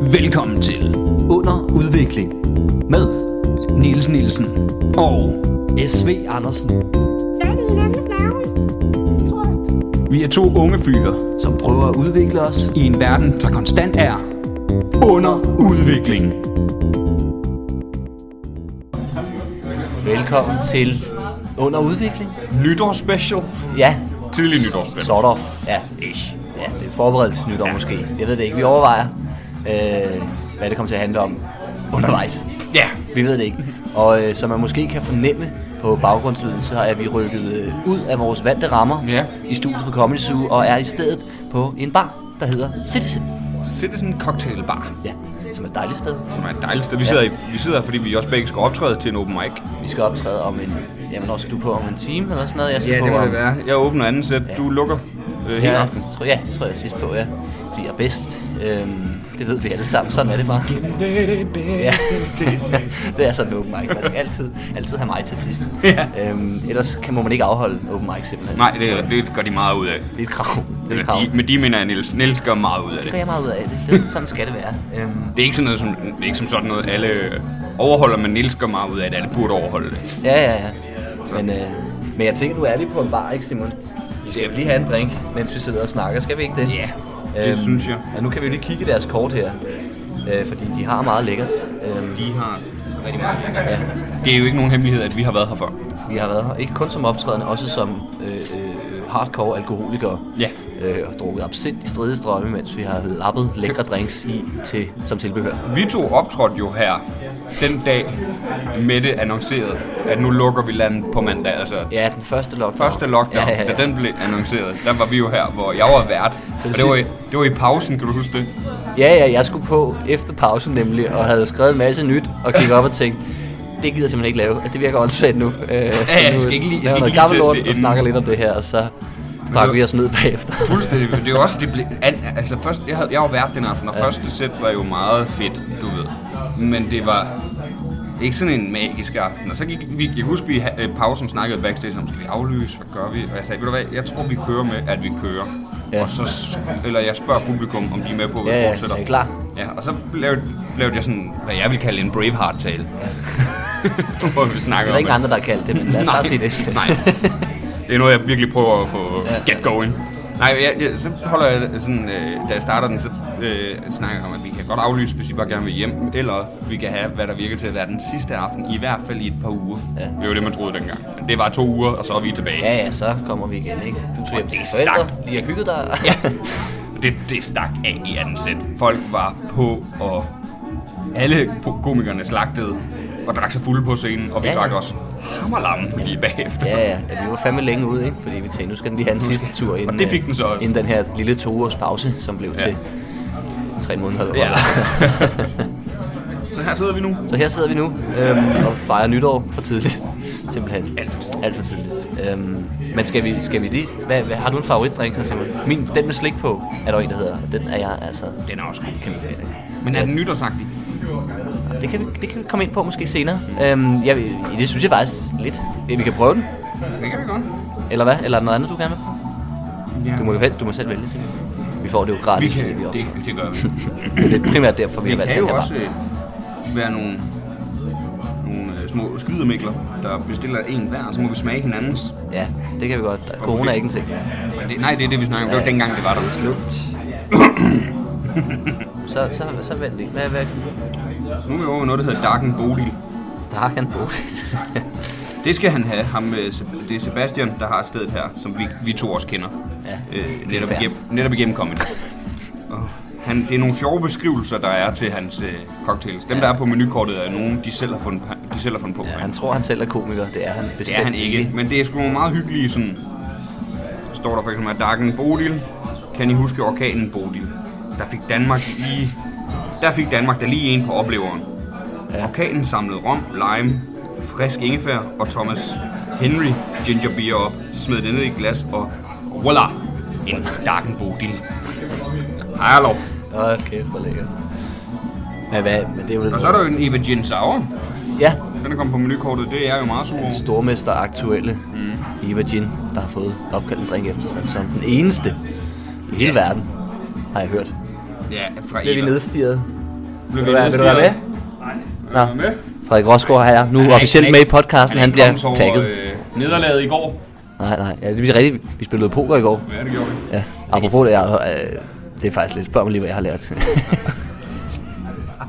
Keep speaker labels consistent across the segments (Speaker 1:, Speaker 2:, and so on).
Speaker 1: Velkommen til Under Udvikling med Niels Nielsen og
Speaker 2: SV Andersen,
Speaker 3: Fat i hinandens navle. Tror jeg.
Speaker 1: vi er to unge fyre
Speaker 2: som prøver at udvikle os.
Speaker 1: i en verden, der konstant er under udvikling.
Speaker 2: Velkommen til Under Udvikling.
Speaker 4: Nytårsspecial.
Speaker 2: Ja,
Speaker 4: Tidlig nytårsspecial.
Speaker 2: sort of. Ja, ish. Ja, det er forberedelse nytår måske. Jeg ved det ikke. Vi overvejer, øh, hvad det kommer til at handle om undervejs.
Speaker 4: Ja.
Speaker 2: Vi ved det ikke. Og øh, som man måske kan fornemme på baggrundslyden, så er vi rykket øh, ud af vores vante rammer
Speaker 4: Ja.
Speaker 2: i studiet på Comedy Zoo, og er i stedet på en bar, der hedder Citizen.
Speaker 4: Citizen Cocktail Bar,
Speaker 2: Ja, som er et dejligt sted.
Speaker 4: som er et dejligt sted. Vi sidder, i, vi sidder her, fordi vi også begge skal optræde til en open mic.
Speaker 2: Vi skal optræde om en... Jamen, når skal du på? Om en time eller sådan noget? Jeg skal
Speaker 4: Ja,
Speaker 2: på
Speaker 4: det må
Speaker 2: om,
Speaker 4: det være. øh, Jeg åbner anden sæt. Du lukker øh, hele
Speaker 2: Ja,
Speaker 4: aften.
Speaker 2: tror, ja, det tror jeg sidst på, ja. Fordi jeg er bedst. Øhm, det ved vi alle sammen, sådan er det bare. Ja. det er sådan en open mic. Man skal altid, altid have mig til sidst.
Speaker 4: Ja.
Speaker 2: Øhm, ellers kan, må man ikke afholde en open mic simpelthen.
Speaker 4: Nej, det, det gør de meget ud af.
Speaker 2: Det er et krav. Det er
Speaker 4: Eller
Speaker 2: et krav.
Speaker 4: de, men de mener jeg, Niels. Niels gør meget ud af
Speaker 2: Det
Speaker 4: det.
Speaker 2: gør jeg meget ud af. Det, det, sådan skal det være. Øhm,
Speaker 4: Det er ikke sådan noget, som, det er ikke som sådan noget, alle øh, overholder, men Niels gør meget ud af det. Alle burde overholde det.
Speaker 2: ja, ja, ja. Men, øh, men jeg tænker, nu er vi på en bar, ikke Simon? Vi skal lige have en drink, mens vi sidder og snakker. Skal vi ikke det?
Speaker 4: Ja, det synes jeg.
Speaker 2: Og nu kan vi jo lige kigge i deres kort her. Øh, fordi de har meget lækkert. Øhm,
Speaker 4: De har rigtig meget.
Speaker 2: ja.
Speaker 4: Det er jo ikke nogen hemmelighed, at vi har været her før.
Speaker 2: Vi har været her, ikke kun som optrædende, også som øh, øh, hardcore alkoholikere.
Speaker 4: Ja.
Speaker 2: Øh, og drukket absint i stridestrømme, mens vi har lappet lækre drinks i til, som tilbehør.
Speaker 4: Vi to optrådte jo her den dag, Mette annoncerede, at nu lukker vi landet på mandag. Altså,
Speaker 2: Ja, den første lockdown.
Speaker 4: første lockdown,
Speaker 2: Ja, ja, ja.
Speaker 4: da den blev annonceret, der var vi jo her, hvor jeg var vært.
Speaker 2: det
Speaker 4: Og det var, i,
Speaker 2: sidste.
Speaker 4: det var i pausen, kan du huske det?
Speaker 2: ja, ja, jeg skulle på efter pausen nemlig, og havde skrevet en masse nyt, og gik op og tænkte, det gider jeg simpelthen ikke lave. Det virker åndssvagt nu. Øh, så
Speaker 4: jeg
Speaker 2: nu
Speaker 4: skal ikke lige- jeg
Speaker 2: laver
Speaker 4: skal ikke
Speaker 2: noget
Speaker 4: lige
Speaker 2: gammel
Speaker 4: teste
Speaker 2: lort og
Speaker 4: inden.
Speaker 2: snakker lidt om det her, og så drak
Speaker 4: var-
Speaker 2: vi os ned bagefter.
Speaker 4: Fuldstændig. Det er jo også, det blev, an, altså først, jeg, havde, jeg var vært den aften, og første sæt var jo meget fedt, du ved. Men det var ikke sådan en magisk aften. Og så gik vi, jeg husker, vi i pausen snakkede backstage om, skal vi aflyse, hvad gør vi? Og jeg sagde, ved du hvad, jeg tror, vi kører med, at vi kører.
Speaker 2: Ja.
Speaker 4: Ja. Og så, s- eller jeg spørger publikum, om de er med på, at vi
Speaker 2: Ja, ja,
Speaker 4: fortsætter.
Speaker 2: er I klar?
Speaker 4: Ja, og så lavede, lavede jeg sådan, hvad jeg vil kalde en Braveheart-tale. Hvor vi snakker
Speaker 2: Der
Speaker 4: om,
Speaker 2: er ikke
Speaker 4: at-
Speaker 2: andre, der har kaldt det, men lad os
Speaker 4: Nej,
Speaker 2: bare sige det.
Speaker 4: Nej. Det er noget, jeg virkelig prøver at få get going. Nej, jeg, jeg, så holder jeg sådan, øh, da jeg starter den, så øh, snakker jeg om, at vi kan godt aflyse, hvis vi bare gerne vil hjem, eller vi kan have, hvad der virker til at være den sidste aften, i hvert fald i et par uger.
Speaker 2: Ja.
Speaker 4: Det var det, man troede dengang. Men det var to uger, og så er vi tilbage.
Speaker 2: Ja, ja, så kommer vi igen, ikke? Du tog hjem
Speaker 4: det
Speaker 2: til dine
Speaker 4: er
Speaker 2: forældre,
Speaker 4: stak.
Speaker 2: lige har hygget dig.
Speaker 4: Det, det stak af i anden sæt. Folk var på, og alle po- komikerne slagtede og drak sig fulde på scenen, og vi
Speaker 2: Ja, ja.
Speaker 4: drak også hammerlamme lige bagefter.
Speaker 2: Ja, ja, ja, vi var fandme længe ude, ikke? Fordi vi tænkte, nu skal den lige have en sidste tur inden,
Speaker 4: det fik
Speaker 2: øh,
Speaker 4: den så også.
Speaker 2: inden den her lille to års pause, som blev ja. til tre måneder. Eller
Speaker 4: Ja.
Speaker 2: hvad.
Speaker 4: Så her sidder vi nu.
Speaker 2: så her sidder vi nu øhm, og fejrer nytår for tidligt, simpelthen.
Speaker 4: Alt for tidligt.
Speaker 2: Alt for tidligt. Øhm, men skal vi, skal vi lige... Hvad, hvad, har du en favoritdrink? her, Simon? Min, den med slik på, er der en, der hedder. Og den er jeg altså...
Speaker 4: Den er også god.
Speaker 2: Kæmpe fan af.
Speaker 4: Men er den nytårsagtig?
Speaker 2: Det kan, vi, det kan vi komme ind på måske senere. Øhm, jeg, det synes jeg faktisk lidt. Vi kan prøve den.
Speaker 4: Det kan vi godt.
Speaker 2: Eller hvad? Eller er der noget andet, du gerne vil prøve?
Speaker 4: Ja.
Speaker 2: Du må, jo helst, du må selv vælge, Simon. Vi får det jo
Speaker 4: vi
Speaker 2: gratis, fordi
Speaker 4: kan,
Speaker 2: vi optager.
Speaker 4: det, det gør vi.
Speaker 2: Det er primært derfor, vi
Speaker 4: Vi
Speaker 2: har valgt
Speaker 4: kan
Speaker 2: den
Speaker 4: jo
Speaker 2: her
Speaker 4: også
Speaker 2: også...
Speaker 4: øh, være nogle, nogle øh, små skydermikler, der bestiller en hver, og så må vi smage hinandens.
Speaker 2: Ja, det kan vi godt. Der- Corona er ikke en ting.
Speaker 4: Men det, nej, det er det, vi snakker om. Det var
Speaker 2: Ja.
Speaker 4: dengang, det var der.
Speaker 2: Slut. så, så, så vælg lige. Hvad, hvad?
Speaker 4: Nu er vi over ved noget, der hedder Darken Bodil.
Speaker 2: Der har han på.
Speaker 4: Det skal han have. Ham, øh, Seb- det er Sebastian, der har stedet her, som vi, vi to også kender.
Speaker 2: Ja,
Speaker 4: øh, netop,
Speaker 2: fair.
Speaker 4: igennem, netop igennem comedy. Og han, det er nogle sjove beskrivelser, der er til hans øh, cocktails. Dem, ja. der er på menukortet, er nogen, de selv har fundet, de selv har fundet på.
Speaker 2: ja,
Speaker 4: ikke?
Speaker 2: han tror, han selv er komiker. Det er han bestemt
Speaker 4: det er han ikke, men det er sgu nogle meget hyggelige sådan... Står der for eksempel, at Darken Bodil, kan I huske orkanen Bodil? Der fik Danmark lige... Der fik Danmark der lige en på opleveren.
Speaker 2: Ja.
Speaker 4: Orkanen samlede rom, lime, frisk ingefær og Thomas Henry ginger beer op, smed det ned i et glas og voila, en Darken Bodil. Hallo.
Speaker 2: Åh, kæft, hvor lækkert. Men, hvad, men det er jo...
Speaker 4: Og så er der jo en Eva Gin Sour.
Speaker 2: Ja,
Speaker 4: Den er kommet på menukortet, det er jeg jo meget sur
Speaker 2: den
Speaker 4: over.
Speaker 2: stormester aktuelle mm. Eva Jean, der har fået opkaldt en drink efter sig som den eneste i hele verden, har jeg hørt.
Speaker 4: Ja, fra
Speaker 2: Bliver vi
Speaker 4: Eva.
Speaker 2: nedstiget?
Speaker 4: Blev
Speaker 2: Vil du være, vil du være med? Nå,
Speaker 4: Nå. Med?
Speaker 2: Frederik Rosgaard her nu
Speaker 4: Han er
Speaker 2: officielt
Speaker 4: ikke-
Speaker 2: med i podcasten. Han
Speaker 4: ikke
Speaker 2: bliver
Speaker 4: kommet over,
Speaker 2: tagget.
Speaker 4: Øh, nederlaget i går.
Speaker 2: Nej, nej. Ja, det er rigtigt. Vi spillede poker i går.
Speaker 4: Hvad er det gjorde vi?
Speaker 2: Ja. Apropos det, jeg, øh, det er faktisk lidt. Spørg mig lige, hvad jeg har lært.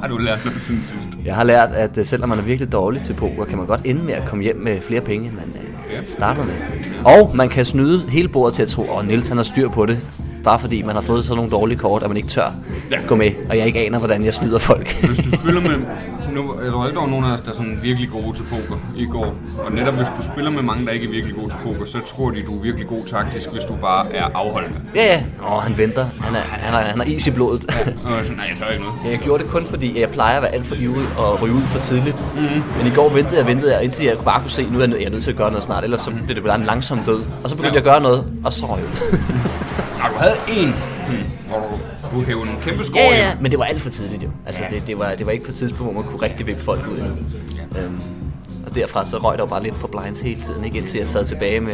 Speaker 4: Har du lært noget siden sidst?
Speaker 2: jeg har lært, at øh, selvom man er virkelig dårlig til poker, kan man godt ende med at komme hjem med flere penge, end man øh, startede med. Og man kan snyde hele bordet til at tro, at Niels han har styr på det. Bare fordi man har fået sådan nogle dårlige kort, at man ikke tør gå med. Og jeg ikke aner, hvordan jeg snyder folk.
Speaker 4: Hvis du spiller med... Nu, jeg tror ikke, der var nogen af os, der er sådan virkelig gode til poker i går. Og netop hvis du spiller med mange, der ikke er virkelig gode til poker, så tror de, du er virkelig god taktisk, hvis du bare er afholdende.
Speaker 2: Ja, ja. Åh, han venter. Han er, han, er, han er is i blodet.
Speaker 4: Og jeg er sådan, nej, jeg tør ikke noget.
Speaker 2: Ja, jeg gjorde det kun fordi, jeg plejer at være alt for ivrig og ryge ud for tidligt. Mm-hmm. Men i går ventede jeg, ventede jeg, indtil jeg bare kunne se, nu er jeg nødt, jeg er nødt til at gøre noget snart, ellers så bliver det bare en langsom død. Og så begyndte
Speaker 4: Ja.
Speaker 2: jeg at gøre noget, og så røg jeg ud.
Speaker 4: Når du havde en, hmm, hvor du kunne hæve en kæmpe score
Speaker 2: ja, ja.
Speaker 4: hjem.
Speaker 2: Men det var alt for tidligt jo. Altså,
Speaker 4: Ja.
Speaker 2: det, det, var, det var ikke på et tidspunkt, hvor man kunne rigtig vippe folk ud endnu. Øhm, og derfra så røg der jo bare lidt på blinds hele tiden, ikke? indtil jeg sad tilbage med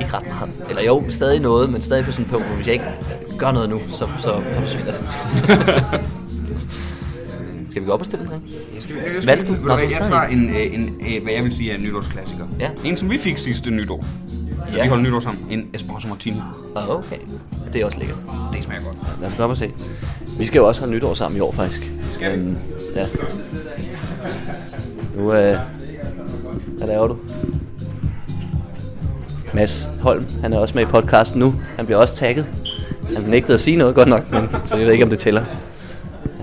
Speaker 2: ikke ret meget. Eller jo, stadig noget, men stadig på sådan en punkt, hvor hvis jeg ikke øh, gør noget nu, så, så, så forsvinder det. Skal vi gå op og stille den?
Speaker 4: Jeg skal- jeg skal-
Speaker 2: Valgte du?
Speaker 4: ved
Speaker 2: Nå,
Speaker 4: hvad,
Speaker 2: du
Speaker 4: Jeg
Speaker 2: stadig
Speaker 4: tager en, øh, en, øh, hvad jeg vil sige er en nytårsklassiker.
Speaker 2: Ja.
Speaker 4: En, som vi fik sidste nytår.
Speaker 2: Ja.
Speaker 4: Ja. Vi holdt nytår sammen. En espresso martini.
Speaker 2: Ah, Okay, det er også lækkert.
Speaker 4: Det smager godt.
Speaker 2: Lad os gå op og se. Vi skal jo også holde nytår sammen i år, faktisk.
Speaker 4: Skal vi?
Speaker 2: Øhm, ja. Nu, øh, hvad laver du? Mads Holm, han er også med i podcasten nu. Han bliver også tagget. Han nægtede at sige noget godt nok, men så jeg ved ikke, om det tæller.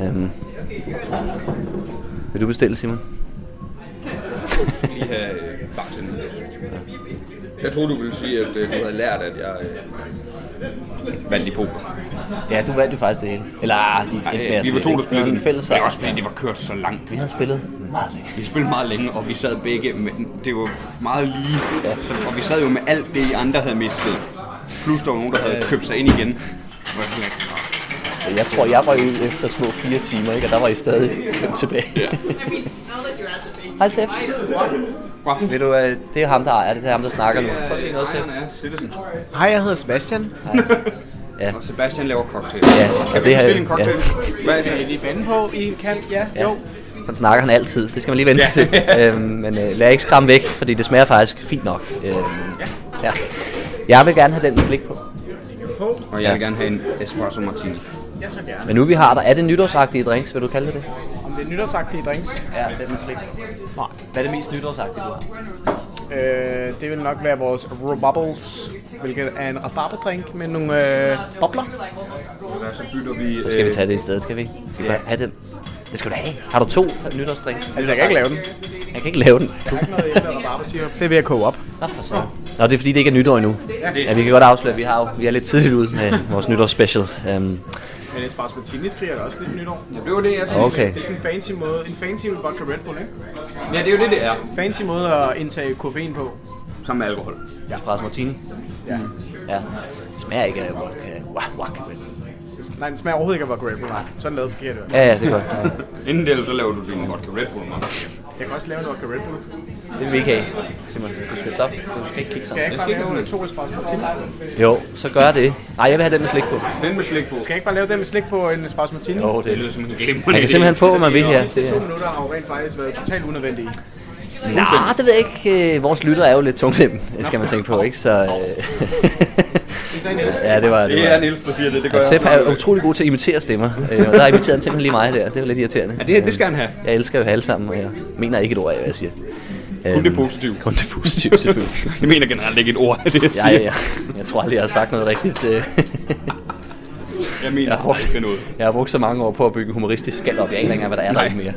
Speaker 2: Øhm. Vil du bestille, Simon?
Speaker 4: Lige have øh, bartender. Jeg troede, du ville sige, at øh, du havde lært, at jeg øh, vandt i poker.
Speaker 2: Ja, du vandt jo faktisk det hele. Eller, ah, lige
Speaker 4: Ej, vi var to, der spillede
Speaker 2: en
Speaker 4: den.
Speaker 2: fælles
Speaker 4: Det er også fordi, det var kørt så langt.
Speaker 2: Vi havde spillet meget længe.
Speaker 4: Vi spillede meget længe, og vi sad begge, men det var meget lige. Ja. Så, og vi sad jo med alt det, I andre havde mistet. Plus der var nogen, der havde købt sig ind igen. Hvor jeg sådan lidt, "Nå,
Speaker 2: Jeg tror, jeg var ud efter små fire timer, ikke? og der var I stadig fem tilbage. Ja. Hej, Sef.
Speaker 4: Hvor fedt.
Speaker 2: Ved du, øh, det er ham, der ejer det. Det er ham, der snakker nu. Prøv at sige noget, Sef.
Speaker 4: Ejeren er Citizen.
Speaker 5: Hej, jeg hedder Sebastian.
Speaker 4: Og Sebastian laver cocktail.
Speaker 2: Ja,
Speaker 4: Kan
Speaker 2: og
Speaker 4: vi
Speaker 2: det har
Speaker 4: bestille en cocktail? Hvad er det?
Speaker 5: lige vande på i kant? Ja,
Speaker 2: Ja. Sådan snakker han altid. Det skal man lige vente
Speaker 4: Ja.
Speaker 2: til. Øhm, men øh, lad ikke skræmme væk, fordi det smager faktisk fint nok. Øhm, ja. Jeg vil gerne have den med slik på.
Speaker 4: Og jeg vil gerne have en espresso martini.
Speaker 5: Jeg så gerne.
Speaker 2: Men nu vi har der, er det nytårsagtige drinks, vil du kalde det det?
Speaker 5: Om det er nytårsagtige drinks?
Speaker 2: Ja, den med slik.
Speaker 5: Nej.
Speaker 2: Hvad er det mest nytårsagtige, du har?
Speaker 5: Øh, det vil nok være vores Robubbles, hvilket er en rabarberdrink med nogle øh, bobler.
Speaker 4: Og så bytter vi... øh,
Speaker 2: Så skal
Speaker 5: Øh,
Speaker 2: vi tage det i stedet, skal vi? Skal vi bare have den? Det skal du da have. Har du to nytårsdrinks?
Speaker 5: Altså, jeg kan ikke lave den.
Speaker 2: Jeg kan ikke lave den.
Speaker 5: Det vil jeg koge op.
Speaker 2: Nå, for søren. Nå, det er fordi, det ikke er nytår endnu. Ja, vi kan godt afsløre, at vi, har jo, vi er lidt tidligt ude med vores nytårsspecial. Um,
Speaker 5: Men Espresso Martini skriger da også lidt nytår.
Speaker 4: Øh, det var det, jeg synes.
Speaker 2: okay.
Speaker 5: Det er sådan en fancy måde, en fancy vodka Red Bull, ikke?
Speaker 4: Ja, det er jo det, det er.
Speaker 5: Fancy måde at indtage koffein på.
Speaker 4: Sammen med alkohol.
Speaker 2: Espresso Martini.
Speaker 5: Ja.
Speaker 2: Ja. Det smager ikke af vodka. Wah, wah, men-
Speaker 5: Nej, den smager overhovedet ikke af vodka Red Bull. Nej. Sådan lavet forkert. jo.
Speaker 2: Ja, ja, det er godt. Ja.
Speaker 4: Inden det, så laver du din vodka Red Bull martini.
Speaker 5: Jeg kan også lave en vodka Red Bull.
Speaker 2: Det vil vi ikke have. Simon, du skal stoppe. Du skal ikke kigge
Speaker 5: Skal jeg
Speaker 2: sådan.
Speaker 5: ikke bare lave to Espresso Martini?
Speaker 2: Jo, så gør det. Nej, jeg vil have den med slik på.
Speaker 4: Den med slik på.
Speaker 5: Skal jeg ikke bare lave den med slik på en Espresso Martini?
Speaker 2: Jo, det
Speaker 4: Det
Speaker 2: er
Speaker 4: lyder som en glimrende
Speaker 2: Man kan simpelthen
Speaker 4: idé.
Speaker 2: få, hvad man vil her. Det
Speaker 5: To
Speaker 2: er.
Speaker 5: minutter har jo rent faktisk været totalt unødvendige.
Speaker 2: Nej, det ved jeg ikke. Øh, Vores lytter er jo lidt tungsim, skal man tænke på, ikke? Så, øh... ja, det var det.
Speaker 4: Det er
Speaker 2: Var.
Speaker 4: Niels, der siger det. Det gør
Speaker 2: Og Sepp
Speaker 4: jeg.
Speaker 2: er utrolig god til at imitere stemmer, øh, og der imiterede han simpelthen lige mig der. Det er jo lidt irriterende.
Speaker 4: Ja, det, det skal han have.
Speaker 2: Jeg elsker jo alle sammen, og jeg mener ikke et ord af, hvad jeg siger. Øhm,
Speaker 4: Kun det positive.
Speaker 2: Kun det positive, selvfølgelig.
Speaker 4: Jeg mener generelt ikke et ord af det, jeg
Speaker 2: ja, ja, ja. Jeg tror aldrig, jeg har sagt noget rigtigt. øh.
Speaker 4: Jeg mener
Speaker 2: Jeg har brugt,
Speaker 4: ikke noget.
Speaker 2: jeg har brugt så mange år på at bygge en humoristisk skal op. Jeg aner ikke engang, hvad der er der
Speaker 4: Nej. Øh.
Speaker 2: ikke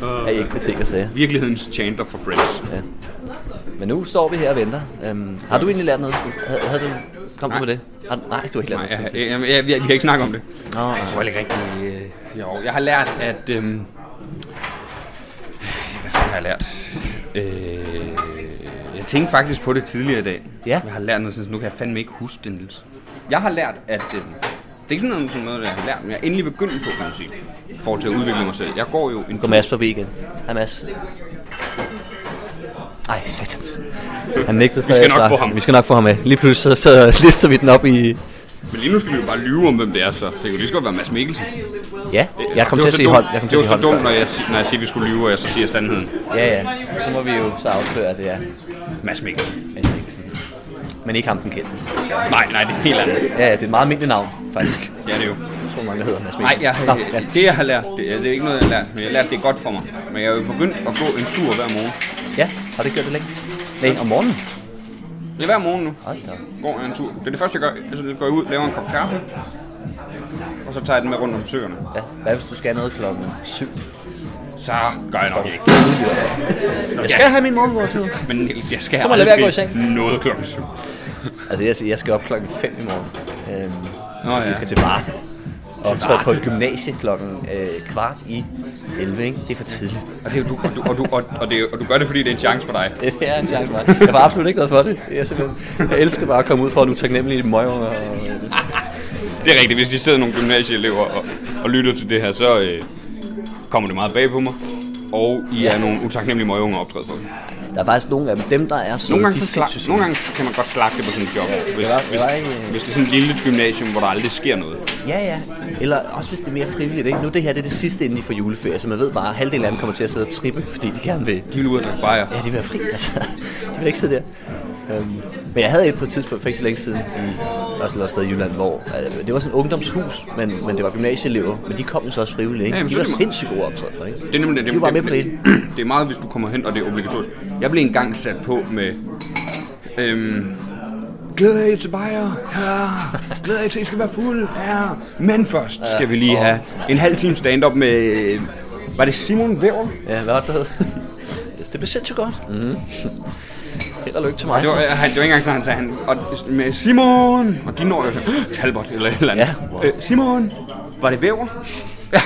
Speaker 2: mere. Jeg er ikke på ting og sager.
Speaker 4: Virkelighedens chanter for Friends.
Speaker 2: Men nu står vi her og venter. Øhm, har du egentlig lært noget? siden- Havde, havde du, kom du
Speaker 4: Nej.
Speaker 2: med det? Har, du- nej, du har ikke lært
Speaker 4: Nej,
Speaker 2: noget. siden
Speaker 4: jeg,
Speaker 2: sidst.
Speaker 4: jeg, jeg, jeg, vi kan ikke snakke om det.
Speaker 2: Nå, nej.
Speaker 4: heller ikke rigtig... Øh, jo, jeg har lært, at... Øhm, hvad fanden har jeg lært? Øh, jeg tænkte faktisk på det tidligere i dag.
Speaker 2: Ja.
Speaker 4: Jeg har lært noget, sådan, nu kan jeg fandme ikke huske det, Niels. Jeg har lært, at... Øhm, det er ikke sådan noget, sådan noget, jeg har lært, men jeg er endelig begyndt på, kan man sige. For til at udvikle mig selv. Jeg går jo en
Speaker 2: Gå Mads forbi igen. Hej Mads. Ej, satans. Han nægtede
Speaker 4: Vi skal nok få ham.
Speaker 2: Vi skal nok få ham med. Lige pludselig så, så lister vi den op i
Speaker 4: Men lige nu skal vi jo bare lyve om, hvem det er, så det kunne lige så godt være Mads Mikkelsen.
Speaker 2: Ja, jeg kom
Speaker 4: Det var
Speaker 2: til at
Speaker 4: så
Speaker 2: sige
Speaker 4: dumt-
Speaker 2: hold. Jeg kom til
Speaker 4: Det
Speaker 2: at
Speaker 4: var
Speaker 2: sige
Speaker 4: så dumt,
Speaker 2: hold. før.
Speaker 4: når jeg, si- når jeg siger, at vi skulle lyve, og jeg så siger sandheden.
Speaker 2: Ja, ja. Så må vi jo så afsløre, at det er
Speaker 4: Mads Mikkelsen.
Speaker 2: Mads Mikkelsen. Men ikke ham, den kendte.
Speaker 4: Nej, nej, det er helt andet.
Speaker 2: Ja, ja, det er et meget almindeligt navn, faktisk.
Speaker 4: Ja, det er jo.
Speaker 2: Jeg tror, mange der hedder Mads
Speaker 4: Nej,
Speaker 2: Mikkelsen.
Speaker 4: jeg,
Speaker 2: Nå,
Speaker 4: har-
Speaker 2: ja.
Speaker 4: det jeg har lært, det, er- det er ikke noget, jeg har lært, men jeg har lært, det er godt for mig. Men jeg er jo begyndt at gå en tur hver morgen.
Speaker 2: ja, har det gjort det længe? Nej, om morgenen.
Speaker 4: Det er hver morgen nu.
Speaker 2: Hold da. op.
Speaker 4: Går jeg en tur. Det er det første, jeg gør. Altså, jeg går ud, laver en kop kaffe, og så tager jeg den med rundt om søerne.
Speaker 2: Ja, hvad hvis du skal noget klokken 7?
Speaker 4: Så gør jeg nok ikke.
Speaker 2: Jeg skal have min morgenvårdtur.
Speaker 4: Men Niels, jeg skal
Speaker 2: Så må jeg lade være at gå i
Speaker 4: aldrig Noget klokken syv.
Speaker 2: Altså, jeg, siger, jeg skal op klokken 5 i morgen. Øhm, Nå,
Speaker 4: ja.
Speaker 2: Jeg skal til Varte. Og optræde på et gymnasie klokken øh, kvart i 11, ikke? Det er for tidligt.
Speaker 4: Og, det, er jo- du, og, du, og, du, og, og, det, er jo- og du gør det, fordi det er en chance for dig.
Speaker 2: Det er en chance for mig. Jeg var absolut ikke noget for det. Jeg, er simpelthen, jeg elsker bare at komme ud for en utaknemmelig møgunger. Og, øh,
Speaker 4: Det er rigtigt, hvis de sidder nogle gymnasieelever og, og lytter til det her, så øh, kommer det meget bag på mig. Og I er nogle utaknemmelige møgunger optræde på.
Speaker 2: der er faktisk nogle af dem, dem der er så...
Speaker 4: Nogle gange,
Speaker 2: de
Speaker 4: så
Speaker 2: er
Speaker 4: slag,
Speaker 2: sindssygt
Speaker 4: nogle gange kan man godt slagte det på sådan et job. Hvis,
Speaker 2: det var- det
Speaker 4: hvis,
Speaker 2: var ikke-
Speaker 4: hvis det er sådan et lille gymnasium, hvor der aldrig sker noget.
Speaker 2: Ja, ja. Eller også hvis det er mere frivilligt, ikke? Nu det her, det er det sidste, inden de får juleferie, så man ved bare, at halvdelen af dem kommer til at sidde og trippe, fordi de gerne vil...
Speaker 4: De vil ud og drikke bajer.
Speaker 2: Ja, de vil være fri, altså. De vil ikke sidde der. Øhm, men jeg havde et på et tidspunkt, for ikke så længe siden, i også et eller andet sted i Jylland, hvor altså, det var sådan et ungdomshus, men, men det var gymnasieelever, men de kom jo så også frivilligt, ikke?
Speaker 4: Ja,
Speaker 2: Ja,
Speaker 4: jamen,
Speaker 2: de
Speaker 4: så er det
Speaker 2: var
Speaker 4: meget-
Speaker 2: sindssygt gode optræder for, ikke?
Speaker 4: Det er nemlig det.
Speaker 2: De var bare med på det hele.
Speaker 4: Det er meget, hvis du kommer hen, og det er obligatorisk. Jeg blev engang sat på med... Øhm, Glæder jer til bajer. Ja. Glæder jer til, at I skal være fulde. Ja. Men først skal vi lige have en halv time stand-up med... Var det Simon Væver?
Speaker 2: Ja, hvad var det, der hed? Det blev sindssygt godt. Mm-hmm. Held og lykke til mig.
Speaker 4: Mhm. Det var, han, det var ikke engang sådan, han sagde, han, og med Simon, og de når jo så, "Åh, Talbot eller et eller andet.
Speaker 2: Ja, wow.
Speaker 4: Øh, Simon, var det væver? Ja.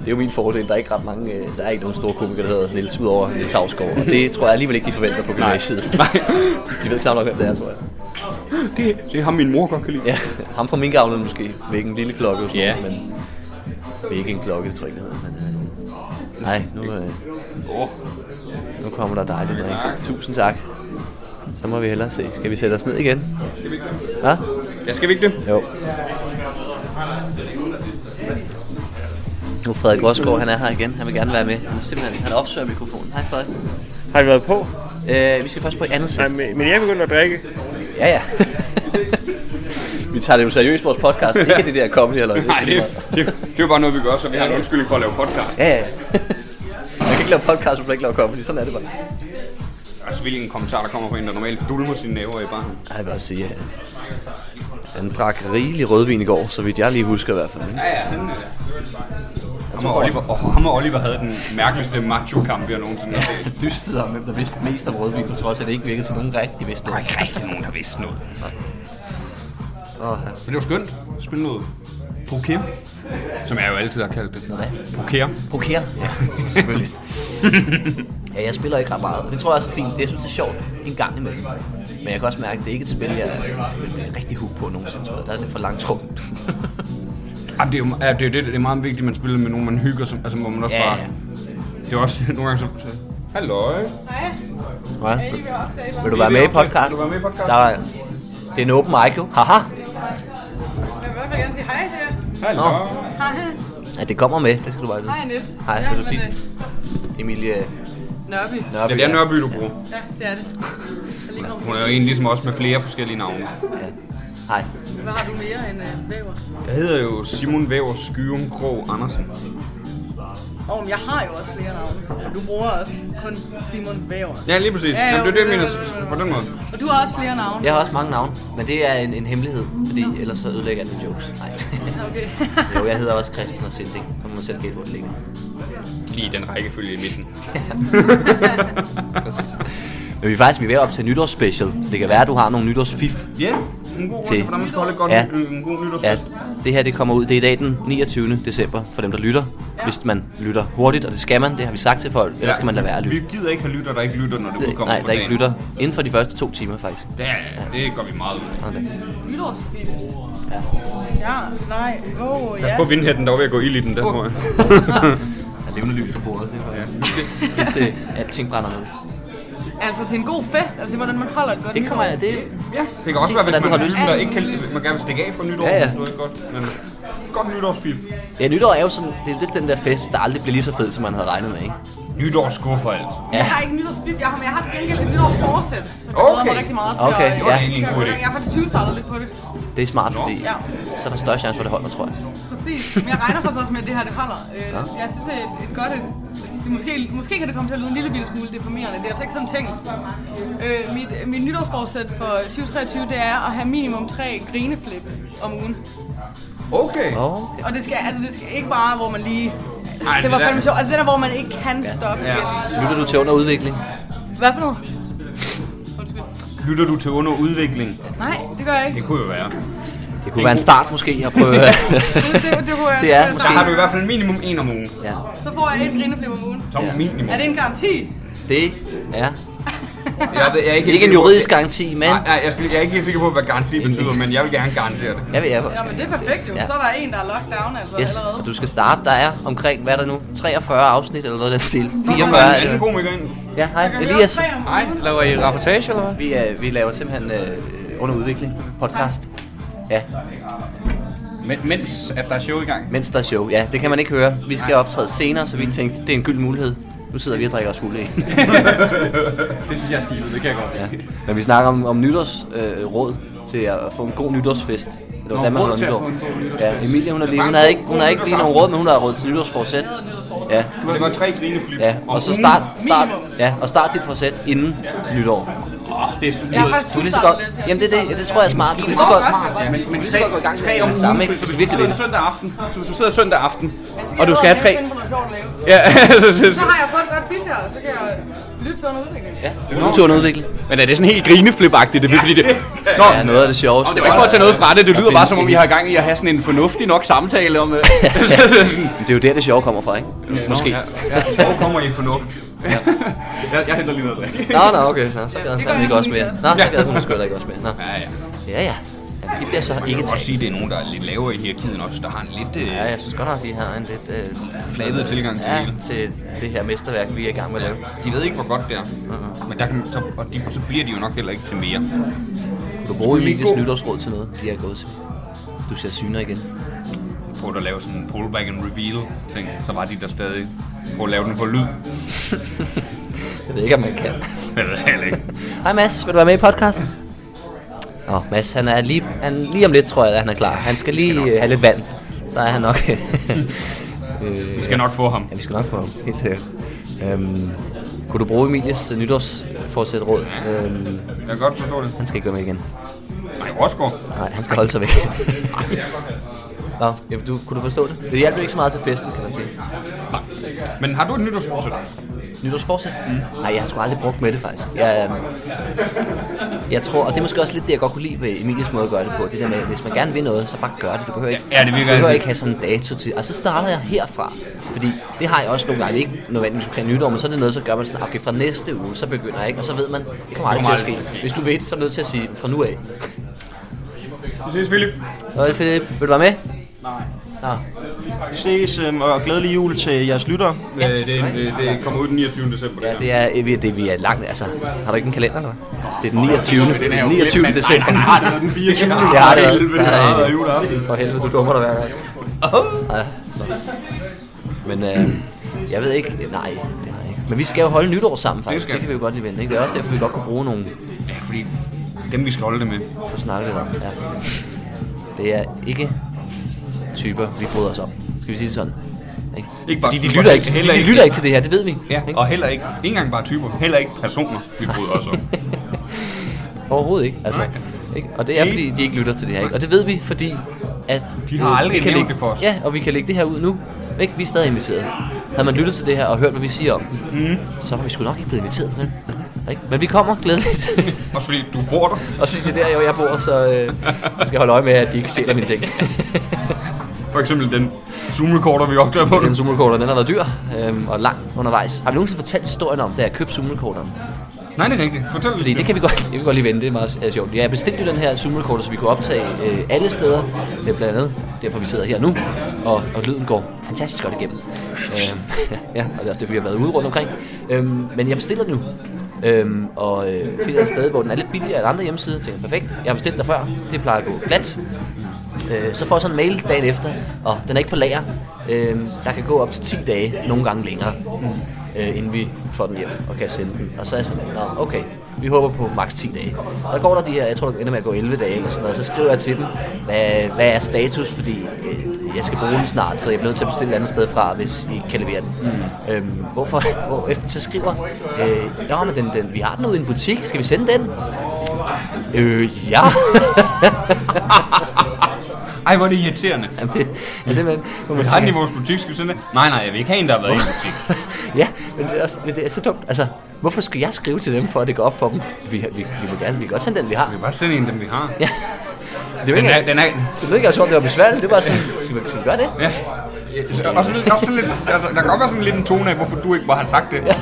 Speaker 2: Det er jo min fordel. Der er ikke ret mange, øh, der er ikke nogen store komikere, der hedder Niels, udover Niels Havsgaard. Og det tror jeg alligevel ikke, de forventer på gymnasiet.
Speaker 4: Nej,
Speaker 2: De ved knap nok, hvem det er, tror jeg.
Speaker 4: det, det er ham, min mor godt kan lide.
Speaker 2: Ja, ham fra minkavlen måske. Vækken lille klokke og sådan
Speaker 4: Ja.
Speaker 2: noget, men... Vækken en klokke, tror jeg ikke, det hedder. Men, øh, nej, nu, øh,
Speaker 4: Åh,
Speaker 2: nu kommer der dejlige drinks. Tusind tak. Så må vi hellere se. Skal vi sætte os ned igen? Ja?
Speaker 4: Ja, skal vi ikke det?
Speaker 2: Jo. Nu er Frederik Rosgaard, han er her igen. Han vil gerne være med. Han, er simpelthen, han opsøger mikrofonen. Hej Frederik.
Speaker 6: Har I været på?
Speaker 2: Øh, vi skal først på et andet sæt.
Speaker 6: Nej, men men jeg er begyndt at drikke.
Speaker 2: Ja, ja. vi tager det jo seriøst, vores podcast. Ikke det der comedy eller
Speaker 4: Nej, det, det, det er jo bare noget, vi gør, så vi har en undskyldning for at lave podcast.
Speaker 2: Ja, ja. Man kan ikke lave podcast, hvis man ikke laver comedy. Sådan er det bare.
Speaker 4: Altså, hvilken kommentar, der kommer fra en, der normalt dulmer sine næver i baren.
Speaker 2: Ej, jeg vil også sige, at han drak rigelig rødvin i går, så vidt jeg lige husker i hvert fald. Ikke?
Speaker 4: Ja, ja, den øh, er... Ham og, Oliver, og ham og Oliver havde den mærkeligste macho-kamp, jeg nogensinde har set.
Speaker 2: dystede om, hvem der vidste mest om rødvin, på trods af, at det ikke virkede til nogen rigtig vidste noget.
Speaker 4: ikke rigtig nogen, der vidste noget.
Speaker 2: Åh,
Speaker 4: Men det var skønt. Spille noget poker, som jeg jo altid har kaldt det.
Speaker 2: hvad?
Speaker 4: Poker.
Speaker 2: Poker? Ja, selvfølgelig. ja, jeg spiller ikke ret meget, men det tror jeg også er fint. Det, jeg synes, det er sjovt en gang imellem. Men jeg kan også mærke, at det er ikke et spil, jeg er rigtig hook på nogensinde, tror jeg. Der er det for langt trukket.
Speaker 4: Jamen, det er jo ja, det, er, det, det er meget vigtigt, at man spiller med nogen, man hygger, som, altså, hvor man også
Speaker 2: Ja,
Speaker 4: bare...
Speaker 2: ja.
Speaker 4: Det er også nogle gange så... så Halløj.
Speaker 2: Hvad? Vil du være med i podcast?
Speaker 4: Vil du være med i podcast?
Speaker 2: Der er, det er en open mic, jo. Haha.
Speaker 7: Jeg vil i hvert fald gerne sige hej til jer.
Speaker 4: Halløj.
Speaker 2: Nå.
Speaker 7: Hej.
Speaker 2: Ja, det kommer med. Det skal du bare vide.
Speaker 7: Hej, Annette.
Speaker 2: Hej,
Speaker 7: Ja,
Speaker 2: vil du
Speaker 7: men,
Speaker 2: sige.
Speaker 7: øh,
Speaker 2: Emilie
Speaker 7: Nørby.
Speaker 2: Nørby.
Speaker 4: Ja, det er Nørby, du bruger.
Speaker 7: Ja, det er det. Jeg lige kommet.
Speaker 4: Hun er jo en ligesom også med flere forskellige navne.
Speaker 2: Ja. Hej.
Speaker 7: Hvad har du mere end øh, væver?
Speaker 4: Jeg hedder jo Simon Væver Skyum Krog Andersen.
Speaker 7: Åh, men jeg har jo også flere navne. Og du bruger også kun Simon Væver.
Speaker 4: Ja, lige præcis.
Speaker 7: Ja, jo,
Speaker 4: Jamen, det er det, jeg
Speaker 7: det-
Speaker 4: mener
Speaker 7: det- det- det-
Speaker 4: på den måde.
Speaker 7: Og du har også flere navne.
Speaker 2: Jeg har også mange navne, men det er en, en hemmelighed, fordi ellers så ødelægger jeg alle jokes. Nej.
Speaker 7: Okay.
Speaker 2: jo, jeg hedder også Christian og Sinding. Nu må man selv gætte, hvor det ligger.
Speaker 4: Lige den rækkefølge i midten.
Speaker 2: Men vi er faktisk vi er ved op til nytårsspecial, så det kan være, at du har nogle nytårsfif.
Speaker 4: Ja, en god råd til,
Speaker 2: Til-
Speaker 4: hvordan man skal holde et godt
Speaker 2: Ja.
Speaker 4: ja. en god
Speaker 2: Ja,
Speaker 4: nytårsfest.
Speaker 2: det her det kommer ud. Det er i dag den 29. december, for dem der lytter. Hvis man lytter hurtigt, og det skal man, det har vi sagt til folk, ellers skal man lade være at lytte.
Speaker 4: Vi gider ikke have lytter, der ikke lytter, når det udkommer
Speaker 2: Nej,
Speaker 4: på
Speaker 2: der ikke
Speaker 4: dagen.
Speaker 2: lytter. Inden for de første to timer, faktisk.
Speaker 4: Ja, ja, det gør vi meget ud af.
Speaker 2: Sådan der.
Speaker 7: Nytårsfilm. Ja. nej. Åh, oh,
Speaker 4: Pas
Speaker 7: ja.
Speaker 4: på vindhætten, der er ved at gå ild i den der, tror jeg.
Speaker 2: Der er levende lys på bordet. Det er
Speaker 4: Ja.
Speaker 2: Indtil alting brænder ned.
Speaker 7: Altså til en god fest. Altså til, hvordan man holder et godt
Speaker 2: Det kommer
Speaker 7: nytår.
Speaker 2: jeg, det,
Speaker 4: Ja, det kan også
Speaker 2: Se,
Speaker 4: være, hvis
Speaker 2: hvordan
Speaker 4: man,
Speaker 2: du
Speaker 4: har
Speaker 2: har
Speaker 4: lyst,
Speaker 2: lyst.
Speaker 4: der ikke kan, man gerne vil stikke af fra nytår.
Speaker 2: Ja, ja.
Speaker 4: Det er godt, men godt nytårsfilm.
Speaker 2: Ja, nytår er jo sådan, det er jo lidt den der fest, der aldrig bliver lige så fed, som man havde regnet med, ikke?
Speaker 4: Nytår skuffer alt.
Speaker 2: Ja.
Speaker 7: Jeg har ikke nytårsbib, jeg har, men jeg har til gengæld et nytårsforsæt, som jeg glæder mig
Speaker 4: Okay.
Speaker 7: rigtig meget til.
Speaker 2: Okay,
Speaker 7: at,
Speaker 2: ja.
Speaker 7: til at gå i gang. Jeg har faktisk 20 startet lidt på det.
Speaker 2: Det er smart, fordi
Speaker 7: Ja.
Speaker 2: så er der større chance for, at det holder, tror jeg.
Speaker 7: Præcis, men jeg regner faktisk også med, at det her det holder. Øh, Jeg synes, at et godt... Det måske, måske kan det komme til at lyde en lille bitte smule deprimerende. Det er altså ikke sådan tænkt. Øh, mit, mit nytårsforsæt for 2023, det er at have minimum tre grineflip om ugen.
Speaker 4: Okay.
Speaker 2: Åh, okay.
Speaker 7: Og det skal, altså, det skal ikke bare, hvor man lige...
Speaker 4: Ej,
Speaker 7: Ej, det var
Speaker 4: det der-
Speaker 7: fandme sjovt. Altså det der, hvor man ikke kan stoppe
Speaker 4: Ja.
Speaker 7: igen.
Speaker 2: Lytter du til under udvikling?
Speaker 7: Hvad for noget? Undskyld.
Speaker 4: Lytter du til under udvikling?
Speaker 7: Nej, det gør jeg ikke.
Speaker 4: Det kunne jo være.
Speaker 2: Det kunne være en start måske at prøve...
Speaker 7: Det, det, det, kunne jeg,
Speaker 2: Det er
Speaker 7: kunne jeg
Speaker 2: måske-
Speaker 4: Så har
Speaker 7: sagtens.
Speaker 4: du i hvert fald minimum en om ugen.
Speaker 2: ja,
Speaker 7: Så får jeg et grineflip om ugen.
Speaker 4: Som
Speaker 2: Ja.
Speaker 4: minimum.
Speaker 7: Er det en garanti?
Speaker 2: det er
Speaker 4: Jeg, ved- jeg er ikke,
Speaker 2: ikke en juridisk garanti, men...
Speaker 4: Nej, nej, jeg, skal, jeg er ikke helt sikker på, hvad garanti betyder, men jeg vil gerne garantere det.
Speaker 2: Jeg vil jeg
Speaker 7: Ja, men det er perfekt jo.
Speaker 2: Ja.
Speaker 7: Så er der en, der er lockdown altså
Speaker 2: Yes,
Speaker 7: allerede.
Speaker 2: og du skal starte, der er omkring, hvad er der nu? 43 afsnit eller noget af den stil. 44
Speaker 4: En
Speaker 2: er det.
Speaker 4: anden
Speaker 2: jo.
Speaker 4: komiker ind.
Speaker 2: Ja, hej,
Speaker 7: Jeg kan høre
Speaker 2: Elias.
Speaker 7: tre om
Speaker 6: Hej,
Speaker 7: ugen.
Speaker 6: laver I rapportage eller hvad?
Speaker 2: Vi, er, vi laver simpelthen øh, under udvikling podcast. Ja,
Speaker 8: Men, mens at der er show i gang.
Speaker 2: mens der er show. Ja, det kan man ikke høre. Vi skal optræde senere, så vi tænkte, det er en gyld mulighed. Nu sidder vi og drikker os fulde ind.
Speaker 8: Det synes jeg er stilet, det kan jeg godt
Speaker 2: Ja.
Speaker 8: lide.
Speaker 2: Men vi snakker om, om nytårsråd øh, råd til at få en god nytårsfest. Det var
Speaker 8: Nå,
Speaker 2: da man
Speaker 8: råd
Speaker 2: holder
Speaker 8: til at
Speaker 2: nytår.
Speaker 8: få en god nytårsfest.
Speaker 2: Ja, Emilia, hun, er lige,
Speaker 4: bare en
Speaker 2: hun havde
Speaker 4: god-
Speaker 2: ikke, hun
Speaker 4: god
Speaker 2: har ikke lige nogen
Speaker 4: nytårsaften.
Speaker 2: råd, men hun har råd til nytårsforsæt. Ja,
Speaker 4: Men Det var tre grineflip.
Speaker 2: ja. Og så start, start, ja, og start dit forsæt inden nytår.
Speaker 8: Det synes
Speaker 7: Jeg har faktisk
Speaker 2: Du kan lige så godt...
Speaker 7: startet lidt. Jeg
Speaker 2: Jamen det,
Speaker 7: har
Speaker 2: det, det, det tror jeg er smart. Du kan lige så
Speaker 7: Åh,
Speaker 2: godt...
Speaker 7: godt,
Speaker 2: Ja, men, men, så godt gå i gang med
Speaker 8: tre om
Speaker 2: det samme, ikke?
Speaker 8: Så hvis
Speaker 2: Hvis du
Speaker 8: du
Speaker 2: virkelig vil.
Speaker 8: sidder søndag aften, så hvis du sidder søndag aften,
Speaker 7: Jeg
Speaker 8: og du skal have tre...
Speaker 7: Jeg finde på noget sjovt at lave.
Speaker 8: Ja,
Speaker 4: altså,
Speaker 8: så, så,
Speaker 7: Så
Speaker 8: så.
Speaker 7: har jeg fået et godt fit her, så kan jeg lytte til en udvikling.
Speaker 2: Ja, kulturen udvikle.
Speaker 8: Men er det sådan helt grineflip-agtigt, det er fordi det... Nå,
Speaker 2: Ja, noget af det sjoveste.
Speaker 8: det var ikke for at tage noget fra det, det
Speaker 2: Der
Speaker 8: lyder bare
Speaker 2: findes
Speaker 8: som om I
Speaker 2: ikke.
Speaker 8: har gang i at have sådan en fornuftig nok samtale om... øh,
Speaker 2: Men Det er jo der, det sjove kommer fra, ikke? Måske.
Speaker 8: ja.
Speaker 4: Hvor kommer I fornuft?
Speaker 8: Jeg, jeg henter lige noget at drikke.
Speaker 2: Nå, nå, okay. Nå, så gad
Speaker 7: det
Speaker 2: han
Speaker 7: gør
Speaker 2: fandme ikke
Speaker 7: jeg
Speaker 2: også mere.
Speaker 7: ikke.
Speaker 2: Nå, så gad hun sgu heller ikke også mere. Nå.
Speaker 4: Ja, ja.
Speaker 2: Ja, ja. Jamen, de bliver så
Speaker 4: Jeg kan
Speaker 2: ikke
Speaker 4: godt
Speaker 2: taget.
Speaker 4: sige, at det er nogen, der er lidt lavere i hierarkiet også, der har en lidt... Øh,
Speaker 2: Ja, jeg synes godt nok, vi har en lidt... Øh,
Speaker 4: Flabet tilgang til det
Speaker 2: ja,
Speaker 4: hele.
Speaker 2: til det her mesterværk, vi er i gang med at lave.
Speaker 4: de ved ikke, hvor godt det er. Men der kan, så, og de, så bliver de jo nok heller ikke til mere.
Speaker 2: Du bruger Emilies nytårsråd til noget, de er gået til. Du ser syner igen.
Speaker 4: Prøv at lave sådan en pullback and reveal ting, så var de der stadig. Prøv at lave den på lyd.
Speaker 2: Jeg ved ikke, om man kan.
Speaker 4: Jeg ved heller ikke.
Speaker 2: Hej Mads, vil du være med i podcasten? Nå, Mads, han er lige, han, lige om lidt, tror jeg, at han er klar. Han skal lige øh, have lidt vand, så er han nok... øh,
Speaker 4: Vi skal nok få ham.
Speaker 2: Ja, vi skal nok få ham, helt sikkert. Øhm, kunne du bruge Emilies øh, nytårsforsæt råd? Øhm,
Speaker 4: Jeg kan godt forstå det.
Speaker 2: han skal ikke være med igen.
Speaker 4: Nej, Rosgaard.
Speaker 2: Nej, han skal holde sig væk. Nå, jamen, du, kunne du forstå det? Det hjalp jo ikke så meget til festen, kan man sige.
Speaker 4: Men har du et nytårsforsæt?
Speaker 2: Nytårsforsæt? Mm. Nej, jeg har sgu aldrig brugt med det faktisk. Jeg, øhm, jeg tror, og det er måske også lidt det, jeg godt kunne lide ved Emilies måde at gøre det på. Det der med, at hvis man gerne vil noget, så bare gør det. Du behøver ikke,
Speaker 4: Ja, det virker
Speaker 2: du behøver
Speaker 4: altid.
Speaker 2: ikke have sådan en dato til. Og så starter jeg herfra. Fordi det har jeg også nogle gange. Ikke nødvendigvis omkring nytår, men så er det noget, så gør man sådan, okay, fra næste uge, så begynder jeg ikke. Og så ved man, det kommer aldrig til at ske. Hvis du ved det, så er du nødt til at sige fra nu af.
Speaker 4: Vi ses, Philip.
Speaker 2: Nå, Philip, vil du være med? Nej. Nå.
Speaker 9: Vi ses, øhm, og glædelig jul til jeres lyttere.
Speaker 2: Ja,
Speaker 4: Øh, det, det, det kommer ud den 29. december.
Speaker 2: Ja,
Speaker 4: her.
Speaker 2: det er, øh, vi, det, vi er langt, altså, har du ikke en kalender, eller hvad? Det er den 29. Det er den 29. december.
Speaker 8: Nej, det var den 24.
Speaker 2: Det har det været.
Speaker 4: Helvede,
Speaker 2: Det har det
Speaker 4: juleaften.
Speaker 2: været. For helvede, du dummer dig hver gang. Ja. Men øh, jeg ved ikke, nej, det har jeg ikke. Men vi skal jo holde nytår sammen, faktisk.
Speaker 4: skal
Speaker 2: Det, kan vi jo godt lige vente, ikke? Det er også derfor, vi godt kunne bruge nogle
Speaker 4: Ja, fordi dem vi skal holde det med.
Speaker 2: for at snakke lidt om. Ja. Det er ikke typer, vi bryder os om. Skal vi sige det sådan? Ikke?
Speaker 4: Ikke bare
Speaker 2: Fordi de
Speaker 4: typer,
Speaker 2: lytter ikke,
Speaker 4: heller
Speaker 2: fordi de
Speaker 4: ikke-
Speaker 2: lytter ikke til det her, det ved vi.
Speaker 4: Ja,
Speaker 2: ikke?
Speaker 4: og heller ikke, ikke engang bare typer, heller ikke personer, vi bryder os om.
Speaker 2: Overhovedet ikke. Altså, ikke? Og det er fordi, de ikke lytter til det her. Ikke? Og det ved vi, fordi at
Speaker 4: De har
Speaker 2: øh,
Speaker 4: aldrig
Speaker 2: vi kan
Speaker 4: nævnt
Speaker 2: lægge,
Speaker 4: det for os.
Speaker 2: Ja, og vi kan lægge det her ud nu. Ikke? Vi er stadig inviteret. Havde man lyttet til det her og hørt, hvad vi siger om det,
Speaker 4: Mhm.
Speaker 2: mm. så var vi sgu nok ikke blevet inviteret. Men, ikke? men vi kommer glædeligt.
Speaker 4: Også fordi du bor der.
Speaker 2: og så det er der, jo jeg bor, så øh, jeg skal holde øje med, at de ikke stjæler mine ting.
Speaker 4: For eksempel den Zoom-recorder, vi optager på.
Speaker 2: den zoom den har været dyr øhm, og lang undervejs. Har vi nogensinde fortalt historien om, da jeg købte zoom
Speaker 4: Nej, det er rigtigt. Fortæl
Speaker 2: Fordi det kan vi godt, vi kan godt lige vende, det er meget øh, sjovt. Jeg bestilte jo den her Zoom recorder, så vi kunne optage øh, alle steder, det er blandt andet derfor vi sidder her nu, og, og lyden går fantastisk godt igennem. Øh, ja, og det er også derfor, vi har været ude rundt omkring. Øhm, men jeg bestiller den nu, Øhm, og øh, finder et sted, hvor den er lidt billigere end andre hjemmesider. Tænker, perfekt, jeg har bestilt der før. Det plejer at gå glat. Øh, så får jeg så en mail dagen efter, og den er ikke på lager. Øh, der kan gå op til 10 dage, nogle gange længere, øh, inden vi får den hjem og kan sende den. Og så er jeg sådan, Nå, okay, vi håber på maks 10 dage. Og der går der de her, jeg tror, der ender med at gå 11 dage eller sådan noget. Så skriver jeg til dem, hvad, hvad er status, fordi øh, jeg skal bruge den snart, så jeg bliver nødt til at bestille et andet sted fra, hvis I kan levere den. Mm. Øhm, hvorfor? Hvor efter så skriver, øh, ja, men den, den, vi har den ude i en butik, skal vi sende den? Øh, ja.
Speaker 4: Ej, hvor er det irriterende.
Speaker 2: Jamen, det er simpelthen... hvor man
Speaker 4: Vi har den i
Speaker 2: tænker,
Speaker 4: vores butik, skal vi sende det? Nej, nej, jeg vil ikke have en, der har været i en butik.
Speaker 2: Ja, men det er, også, men det er så dumt. Altså, hvorfor skulle jeg skrive til dem, for at det går op for dem? Vi, vi, vi må gerne, vi kan godt sende den, vi har.
Speaker 4: Bare send en, dem vi har.
Speaker 2: Ja. Det er
Speaker 4: Den
Speaker 2: ikke,
Speaker 4: er, den er,
Speaker 2: det lød ikke, som om det var besværligt. Det var sådan, skal vi, skal vi gøre det?
Speaker 4: ja. Ja, Også, lidt- også sådan lidt, der, der kan godt være sådan lidt en tone af, hvorfor du ikke bare har sagt det. Ja,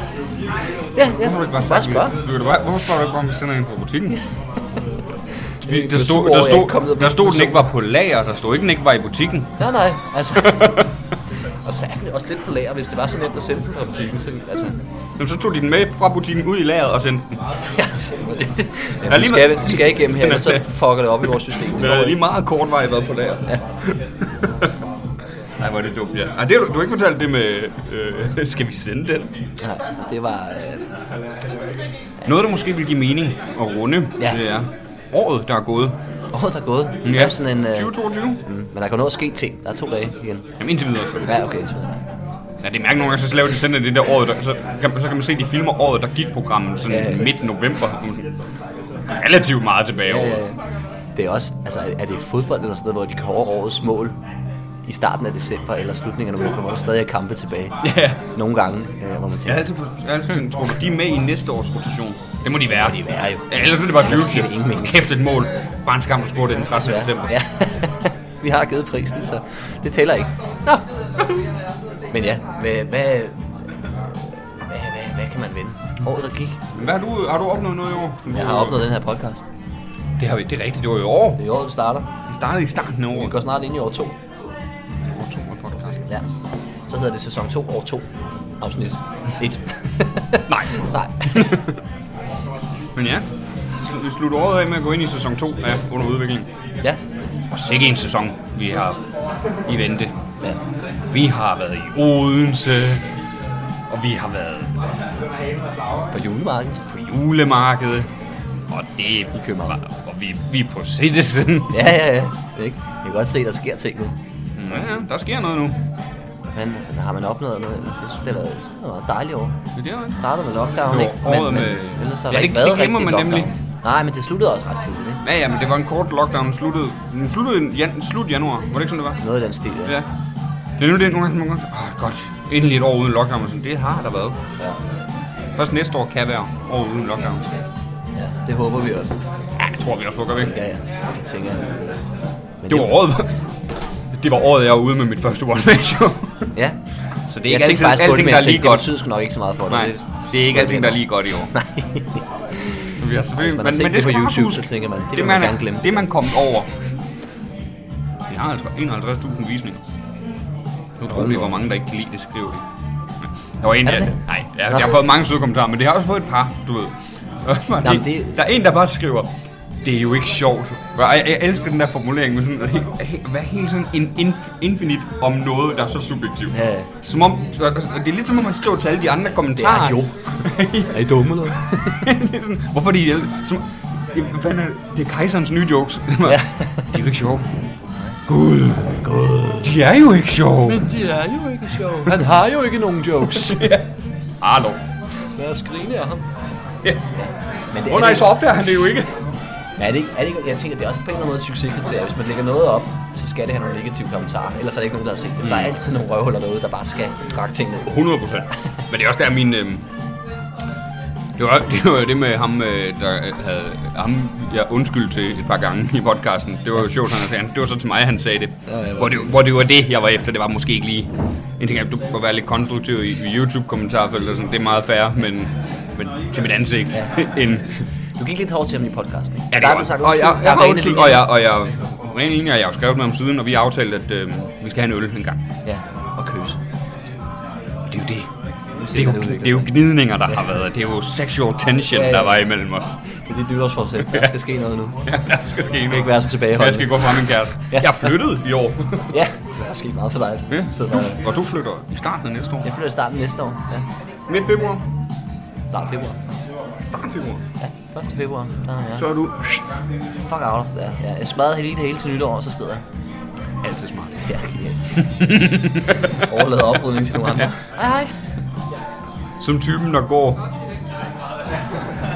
Speaker 2: Ja, ja.
Speaker 4: hvorfor du
Speaker 2: Du
Speaker 4: ikke bare har
Speaker 2: kan bare
Speaker 4: sagt
Speaker 2: spørge.
Speaker 4: det? Du kan da bare- Hvorfor spørger du ikke bare, om vi sender en fra butikken? Vi, der,
Speaker 2: var
Speaker 4: stod,
Speaker 2: sur over,
Speaker 4: der,
Speaker 2: jeg ikke kom ned
Speaker 4: stod,
Speaker 2: og
Speaker 4: der
Speaker 2: blev
Speaker 4: stod, den ikke var på lager, der stod ikke, den ikke var i butikken.
Speaker 2: Nej, nej, altså. Og så er den også lidt på lager, hvis det var så nemt at sende den fra butikken. Så, altså,
Speaker 4: Jamen, så tog de den med fra butikken ud i lageret og sendte den.
Speaker 2: ja, det, det,
Speaker 4: er
Speaker 2: ja, de,
Speaker 4: lige
Speaker 2: skal,
Speaker 4: noget-
Speaker 2: de skal igennem her, og så fucker det op i vores system.
Speaker 4: Den har lige meget kort vej været på lager. Ja. Ej, hvor er det dumt, ja. Ej, det, har du, du har ikke fortalt det med, øh, skal vi sende den?
Speaker 2: Nej, det var... Øh,
Speaker 4: Noget, der måske vil give mening at runde,
Speaker 2: Ja.
Speaker 4: det er året, der er gået.
Speaker 2: året, der er gået. Det
Speaker 4: Ja.
Speaker 2: er sådan en... Øh,
Speaker 4: 2022.
Speaker 2: mm, men der kan nå at ske ting. Der er to dage igen.
Speaker 4: Jamen indtil videre. Så.
Speaker 2: Ja, okay, indtil videre.
Speaker 4: Ja, det er mærkeligt nogle gange, så laver de sådan at det der året, der, så, kan, så kan man se, de filmer året, der gik programmet sådan
Speaker 2: Ja, ja.
Speaker 4: midt november. Sådan Relativt meget tilbage over.
Speaker 2: Øh, det er også, altså er det fodbold eller sådan noget, hvor de kårer årets mål i starten af december eller slutningen af november, hvor der stadig er kampe tilbage.
Speaker 4: Ja.
Speaker 2: Nogle gange, øh, hvor man
Speaker 4: Jeg har
Speaker 2: tænker, ja.
Speaker 4: altid, fået- jeg har altid tænkt, tror du, de er med i næste års rotation? Det må de være.
Speaker 2: de være jo.
Speaker 4: Ja, ellers er det bare
Speaker 2: Ellers giver
Speaker 4: beauty.
Speaker 2: det ingen mening.
Speaker 4: Kæft et mål. Bare en skam at score det den 13. december.
Speaker 2: Ja. Vi har givet prisen, så det tæller ikke. Nå. Men ja, hvad, hvad, hvad, hvad, hvad kan man vinde? Året, der gik.
Speaker 4: Men Hvad har du, har du opnået noget i år?
Speaker 2: Jeg har opnået den her podcast.
Speaker 4: Det har vi, det er rigtigt, det var i år.
Speaker 2: Det er i året, vi starter.
Speaker 4: Vi startede i starten af
Speaker 2: Vi
Speaker 4: året.
Speaker 2: går snart ind i år 2.
Speaker 4: År to af podcasten.
Speaker 2: Ja. Så hedder det sæson 2, år 2. Afsnit 1.
Speaker 4: Nej.
Speaker 2: Nej.
Speaker 4: Men ja, sl- vi slutter året af med at gå ind i sæson 2 af Under Udvikling.
Speaker 2: Ja.
Speaker 4: Og sikke en sæson, vi har i vente.
Speaker 2: ja.
Speaker 4: Vi har været i Odense, og vi har været
Speaker 2: På julemarkedet.
Speaker 4: på julemarkedet, og det er i
Speaker 2: København.
Speaker 4: Og vi, vi er på Citizen.
Speaker 2: Ja, ja, ja. Ikke? Jeg kan godt se, der sker ting nu.
Speaker 4: Ja, ja, der sker noget nu.
Speaker 2: Hvad fanden har man opnået noget ellers? Jeg synes, det har været, jeg synes, det har været et dejligt år.
Speaker 4: Det er
Speaker 2: Det
Speaker 4: det.
Speaker 2: startede med lockdown,
Speaker 4: Jo,
Speaker 2: ikke?
Speaker 4: året
Speaker 2: Men, men
Speaker 4: med-
Speaker 2: ellers har
Speaker 4: Ja,
Speaker 2: der
Speaker 4: det-
Speaker 2: ikke
Speaker 4: det
Speaker 2: været
Speaker 4: glemmer
Speaker 2: rigtig
Speaker 4: man nemlig.
Speaker 2: lockdown. Nej, men det sluttede også ret tidligt, ikke?
Speaker 4: Ja, ja, men det var en kort lockdown. Den sluttede, den sluttede i jan, slut januar. Var det ikke sådan, det var?
Speaker 2: Noget i den stil, ja.
Speaker 4: Ja. Det er nu det, nogle gange, nogle gange, åh, godt, endelig et år uden lockdown, og sådan, det har der været.
Speaker 2: ja.
Speaker 4: Først næste år kan være år uden lockdown.
Speaker 2: ja. det håber vi også.
Speaker 4: Ja, det tror vi også på, gør vi ikke?
Speaker 2: Ja, ja. Det tænker jeg. Men
Speaker 4: Det var året, det var året, jeg var ude med mit første one man show.
Speaker 2: Ja.
Speaker 4: Så det er
Speaker 2: Jeg
Speaker 4: ikke
Speaker 2: tænkte
Speaker 4: altid,
Speaker 2: faktisk på det,
Speaker 4: alting,
Speaker 2: men
Speaker 4: der er
Speaker 2: jeg
Speaker 4: lige
Speaker 2: tænkte, det
Speaker 4: godt.
Speaker 2: betyder sgu nok ikke så meget for dig.
Speaker 4: Nej, det er ikke alting, der er lige godt i år.
Speaker 2: Nej.
Speaker 4: Vi har selvfølgelig,
Speaker 2: Hvis man har set det på YouTube, så tænker man, det vil man gerne glemme.
Speaker 4: Det man kom over. Vi har altså 51.000 visninger. Nu tror vi, hvor mange, der ikke kan lide det, skriver de. Der var en,
Speaker 2: Er der
Speaker 4: der...
Speaker 2: det?
Speaker 4: Nej, jeg,
Speaker 2: Nå.
Speaker 4: jeg har fået mange søde kommentarer, men det har også fået et par, du ved.
Speaker 2: Nå,
Speaker 4: Jamen,
Speaker 2: men
Speaker 4: det...
Speaker 2: det-
Speaker 4: Der er en, der bare skriver, det er jo ikke sjovt. Og Jeg, jeg elsker den der formulering med sådan, at he- he- hvad er helt sådan en inf, infinit om noget, der er så subjektivt.
Speaker 2: Ja, ja.
Speaker 4: Som om, det er lidt som om, man skriver til alle de andre kommentarer.
Speaker 2: jo. Er I dumme, eller
Speaker 4: det er sådan, hvorfor er de alle... Som, Jamen, hvad fanden er det? Det er kejserens nye jokes. Ja. de er jo ikke sjove. Gud. Gud. De er jo ikke sjove.
Speaker 2: Det er jo ikke sjovt. Han har jo ikke nogen jokes.
Speaker 4: Arlo.
Speaker 2: Lad os grine af ham.
Speaker 4: Ja.
Speaker 2: Men det
Speaker 4: Åh oh, nej, så opdager han det jo ikke.
Speaker 2: Men er det ikke, er det ikke, jeg tænker, det er også på en eller anden måde et succeskriterie. Hvis man lægger noget op, så skal det have nogle negative kommentarer. Ellers er der ikke nogen, der har set det. For Der
Speaker 4: Mm.
Speaker 2: er altid nogle røvhuller derude, der bare skal frakke tingene.
Speaker 4: 100 procent. Men det er også der, min... Øh, det var, det var jo det med ham, øh, der øh, havde... Ham, jeg undskyld til et par gange i podcasten. Det var jo sjovt, han sagde. Det var så til mig, han sagde det.
Speaker 2: Ja, jeg var
Speaker 4: hvor, det
Speaker 2: sådan.
Speaker 4: hvor det var det, jeg var efter. Det var måske ikke lige... En ting er, at du må være lidt konstruktiv i, i YouTube-kommentarfeltet. og sådan. Det er meget fair, men, men til mit ansigt. Ja. end,
Speaker 2: Du gik lidt hårdt til ham i podcasten, ikke?
Speaker 4: Ja, det
Speaker 2: der
Speaker 4: er
Speaker 2: er
Speaker 4: godt.
Speaker 2: blevet sagt,
Speaker 4: og jeg, jeg,
Speaker 2: der er
Speaker 4: har
Speaker 2: rene
Speaker 4: undskyld,
Speaker 2: linjer.
Speaker 4: og jeg, og jeg, ren linje, og jeg har jo skrevet med ham siden, og vi har øhm, aftalt, at øh, vi skal have en øl en gang.
Speaker 2: Ja, og køs.
Speaker 4: Det er jo det.
Speaker 2: vi se,
Speaker 4: Det er, jo,
Speaker 2: hvordan udvikler
Speaker 4: det er jo
Speaker 2: sig.
Speaker 4: gnidninger, der har været. Det er jo sexual tension, Altså. ja,
Speaker 2: Ja, ja.
Speaker 4: ja. der var imellem os.
Speaker 2: Det er dit nytårsforsæt. Der skal ske noget nu.
Speaker 4: Ja, der skal ske
Speaker 2: Du kan
Speaker 4: noget.
Speaker 2: ikke være så tilbageholdende.
Speaker 4: Jeg skal gå fra min kæreste.
Speaker 2: Ja.
Speaker 4: Jeg flyttede i år.
Speaker 2: Ja, det er sket meget for dig.
Speaker 4: Ja,
Speaker 2: Så
Speaker 4: du,
Speaker 2: der,
Speaker 4: og du flytter i starten af næste år.
Speaker 2: jeg flytter i starten næste år. Ja,
Speaker 4: Midt februar.
Speaker 2: start februar.
Speaker 4: Start februar.
Speaker 2: Ja, 1. februar. Der er jeg.
Speaker 4: Så er du
Speaker 2: Fuck out of det. Ja, jeg smadrer hele det hele til nytår, og så skrider jeg.
Speaker 4: altid smart.
Speaker 2: Det er genialt. Overlader oprydning til nogle andre.
Speaker 7: Hej, hej.
Speaker 4: Som typen, der går...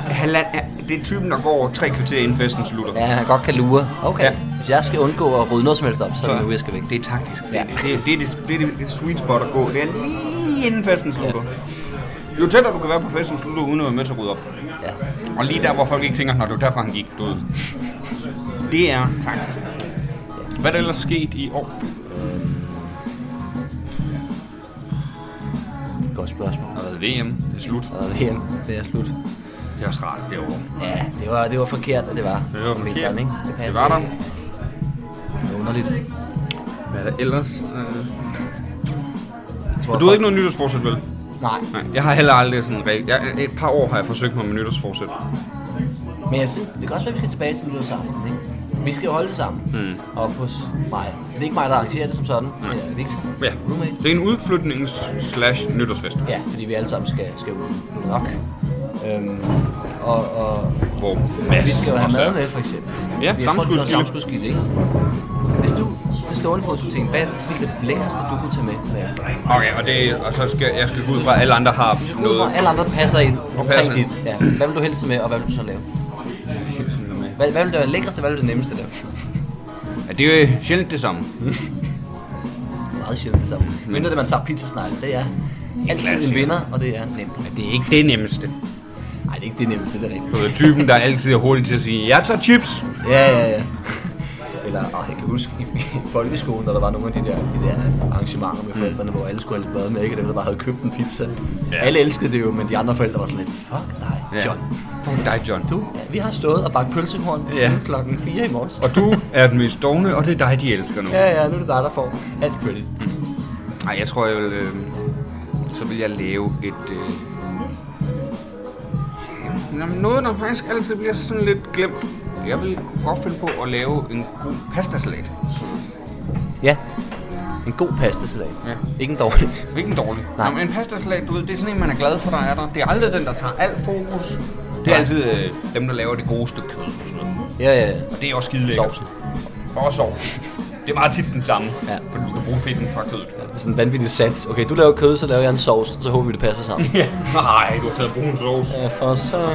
Speaker 4: Halvand, ja, det er typen, der går tre kvarter inden festen slutter.
Speaker 2: Ja, han godt kan lure. Okay,
Speaker 4: Ja.
Speaker 2: hvis jeg skal undgå at rydde noget som helst op, så, så er det nu, jeg skal væk.
Speaker 4: Det er taktisk.
Speaker 2: Ja.
Speaker 4: Ja. Det, det, det, er det, det, er det, det sweet spot at gå. Det er lige inden festen slutter. Jo tættere du kan være på festen slutter, uden at være med til at rydde op.
Speaker 2: Ja.
Speaker 4: Og lige der, hvor folk ikke tænker, når det var derfor, han gik død. Det er taktisk. Hvad er der ellers sket i år?
Speaker 2: Godt spørgsmål.
Speaker 4: Der har været VM. Det er slut.
Speaker 2: Så er det hjem. Det er slut.
Speaker 4: Det er også rart, det år.
Speaker 2: Ja, det var, det var forkert, at det var.
Speaker 4: Det var
Speaker 2: om vinteren,
Speaker 4: forkert.
Speaker 2: ikke?
Speaker 4: Det
Speaker 2: passer
Speaker 4: var der.
Speaker 2: ikke. Det er underligt.
Speaker 4: Hvad er der ellers? Øh...
Speaker 2: Jeg tror,
Speaker 4: Og du havde ikke noget nytårsforsæt, vel?
Speaker 2: noget? Nej,
Speaker 4: Nej, jeg har heller aldrig sådan rigtig... Jeg, et par år har jeg forsøgt mig med nytårsforsæt.
Speaker 2: men jeg synes, det kan også være, at vi skal tilbage til nytårsaften, ikke? Vi skal jo holde det sammen. Mm. Og hos mig. Det er ikke mig, der arrangerer det som sådan. Det er Victor.
Speaker 4: Mm. Ja,
Speaker 2: Roommate.
Speaker 4: det er en udflytnings slash nytårsfest,
Speaker 2: Ja, fordi vi alle sammen skal, skal ud nok. Øhm, og, og,
Speaker 4: hvor
Speaker 2: og vi
Speaker 4: Mads
Speaker 2: skal jo have
Speaker 4: også er.
Speaker 2: mad med, for eksempel.
Speaker 4: Ja,
Speaker 2: Vi- jeg tror, det var
Speaker 4: sammenskudskilde.
Speaker 2: Samskudskilde, ikke? Hvis du på stående fod skulle tænke, hvad ville det lækreste, du kunne tage med? være?
Speaker 4: Okay, og, det, og så skal jeg skal gå ud fra, at alle andre har
Speaker 2: Ud fra
Speaker 4: noget...
Speaker 2: alle andre, der passer ind omkring
Speaker 4: passer ind.
Speaker 2: dit. Ja. Hvad vil du helst med, og hvad vil du så lave? Hvad, hvad vil det være lækreste, hvad vil det nemmeste lave?
Speaker 4: Ja, det er jo sjældent det samme.
Speaker 2: Meget sjældent det samme.
Speaker 4: Mm.
Speaker 2: Mindre det, man tager pizzasnegle, det er altid en vinder, og det er nemt.
Speaker 4: Det er ikke det nemmeste.
Speaker 2: Nej, det er ikke det nemmeste, det er rigtigt.
Speaker 4: Du er typen, der altid er hurtig til at sige, jeg tager chips.
Speaker 2: Ja, ja, ja. Eller, åh, jeg kan huske i i folkeskolen, når der var nogle af de der, de der arrangementer med forældrene, hvor alle skulle have lidt mad med, ikke? Og dem, der bare havde købt en pizza. Mm. Ja. Alle elskede det jo, men de andre forældre var sådan lidt, fuck dig, ja. John.
Speaker 4: Fuck dig, John.
Speaker 2: Du, ja, vi har stået og bagt pølsehorn ja. siden klokken 4 i morges.
Speaker 4: Og du er den mest dogne, og det er dig, de elsker nu.
Speaker 2: Ja, ja, nu er det dig, der får alt credit.
Speaker 4: Nej, jeg tror, jeg vil... Øh, så vil jeg lave et... Øh, jamen, noget, der faktisk altid bliver sådan lidt glemt. Jeg vil godt finde på at lave en god pastasalat.
Speaker 2: Ja, en god pastasalat.
Speaker 4: Ja.
Speaker 2: Ikke en dårlig.
Speaker 4: Hvilken dårlig?
Speaker 2: Nej.
Speaker 4: Nå, men en pastasalat, du ved, det er sådan en, man er glad for, der er der. Det er aldrig den, der tager alt fokus. Det er
Speaker 2: Nej.
Speaker 4: altid øh, dem, der laver det gode stykke kød. Og, sådan noget.
Speaker 2: Ja, ja, ja.
Speaker 4: og det er også skide lækkert.
Speaker 2: Sovsen.
Speaker 4: Og sovsen. Det er meget tit den samme,
Speaker 2: Ja.
Speaker 4: ja. fordi du kan bruge fedten fra kødet.
Speaker 2: Det er sådan en vanvittig sats. Okay, du laver kød, så laver jeg en sovs, så håber vi, det passer sammen.
Speaker 4: Ja. Nej, du har taget brun sovs.
Speaker 2: Ja, for så...
Speaker 4: Og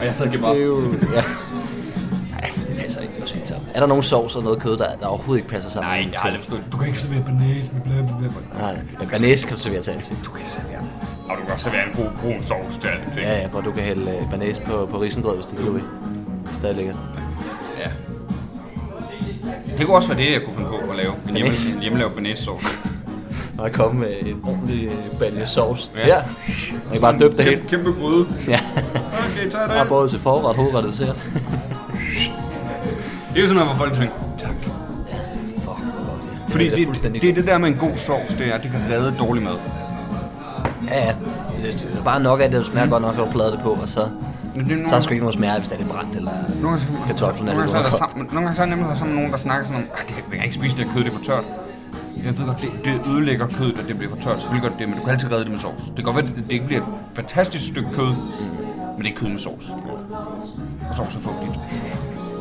Speaker 4: jeg har taget
Speaker 2: Det er
Speaker 4: kebab.
Speaker 2: jo... Ja. Ej, det passer ikke også fint sammen. Er der nogen sovs og noget kød, der, der overhovedet ikke passer sammen?
Speaker 4: Nej, jeg har aldrig forstået. det. Du kan ikke servere banæs med bla bla bla. bla.
Speaker 2: Nej, men banæs kan du servere til alting.
Speaker 4: Du kan servere. Og du kan også servere en god brun sovs til alt.
Speaker 2: Ja, ja, hvor du kan hælde øh, banæs på, på risengrød, hvis det er det, du vil. Det er stadig lækkert.
Speaker 4: ja. Det kunne også være det, jeg kunne finde på at lave. En hjemme,
Speaker 2: Banæs.
Speaker 4: en hjemmelavet banæssauce.
Speaker 2: Og at komme med en ordentlig øh, balje sovs.
Speaker 4: Ja.
Speaker 2: Ja. Man kan bare døbe det helt.
Speaker 4: Kæmpe, kæmpe gryde.
Speaker 2: Ja.
Speaker 4: Okay, tak
Speaker 2: Og
Speaker 4: dig.
Speaker 2: både til forret, hovedret og dessert.
Speaker 4: Det er jo sådan noget, hvor folk tænker, tak.
Speaker 2: Fuck, hvor godt det er.
Speaker 4: Fordi
Speaker 2: er
Speaker 4: det,
Speaker 2: fuldstændig
Speaker 4: det, er det der med en god sovs, det er, at det kan redde dårlig mad.
Speaker 2: Ja, ja. Det det er bare nok af, at det smager godt nok, at du plader det på, og så...
Speaker 4: Men det er
Speaker 2: Så er der sgu ikke noget smerte, hvis det er lidt brændt, eller
Speaker 4: nogle gange,
Speaker 2: kartoflen er
Speaker 4: nogle gange,
Speaker 2: lidt
Speaker 4: så er der
Speaker 2: underkogt.
Speaker 4: sammen, nogle gange så er der nemlig der sammen nogen, der snakker sådan om, "Ah, det, jeg kan ikke spise det her kød, det er for tørt. Jeg ved godt, det, det ødelægger kødet, at det bliver for tørt. Selvfølgelig gør det det, men du kan altid redde det med sovs. Det kan godt være, at det ikke bliver et fantastisk stykke kød, men det er kød med sovs. Og sovs er fugtigt.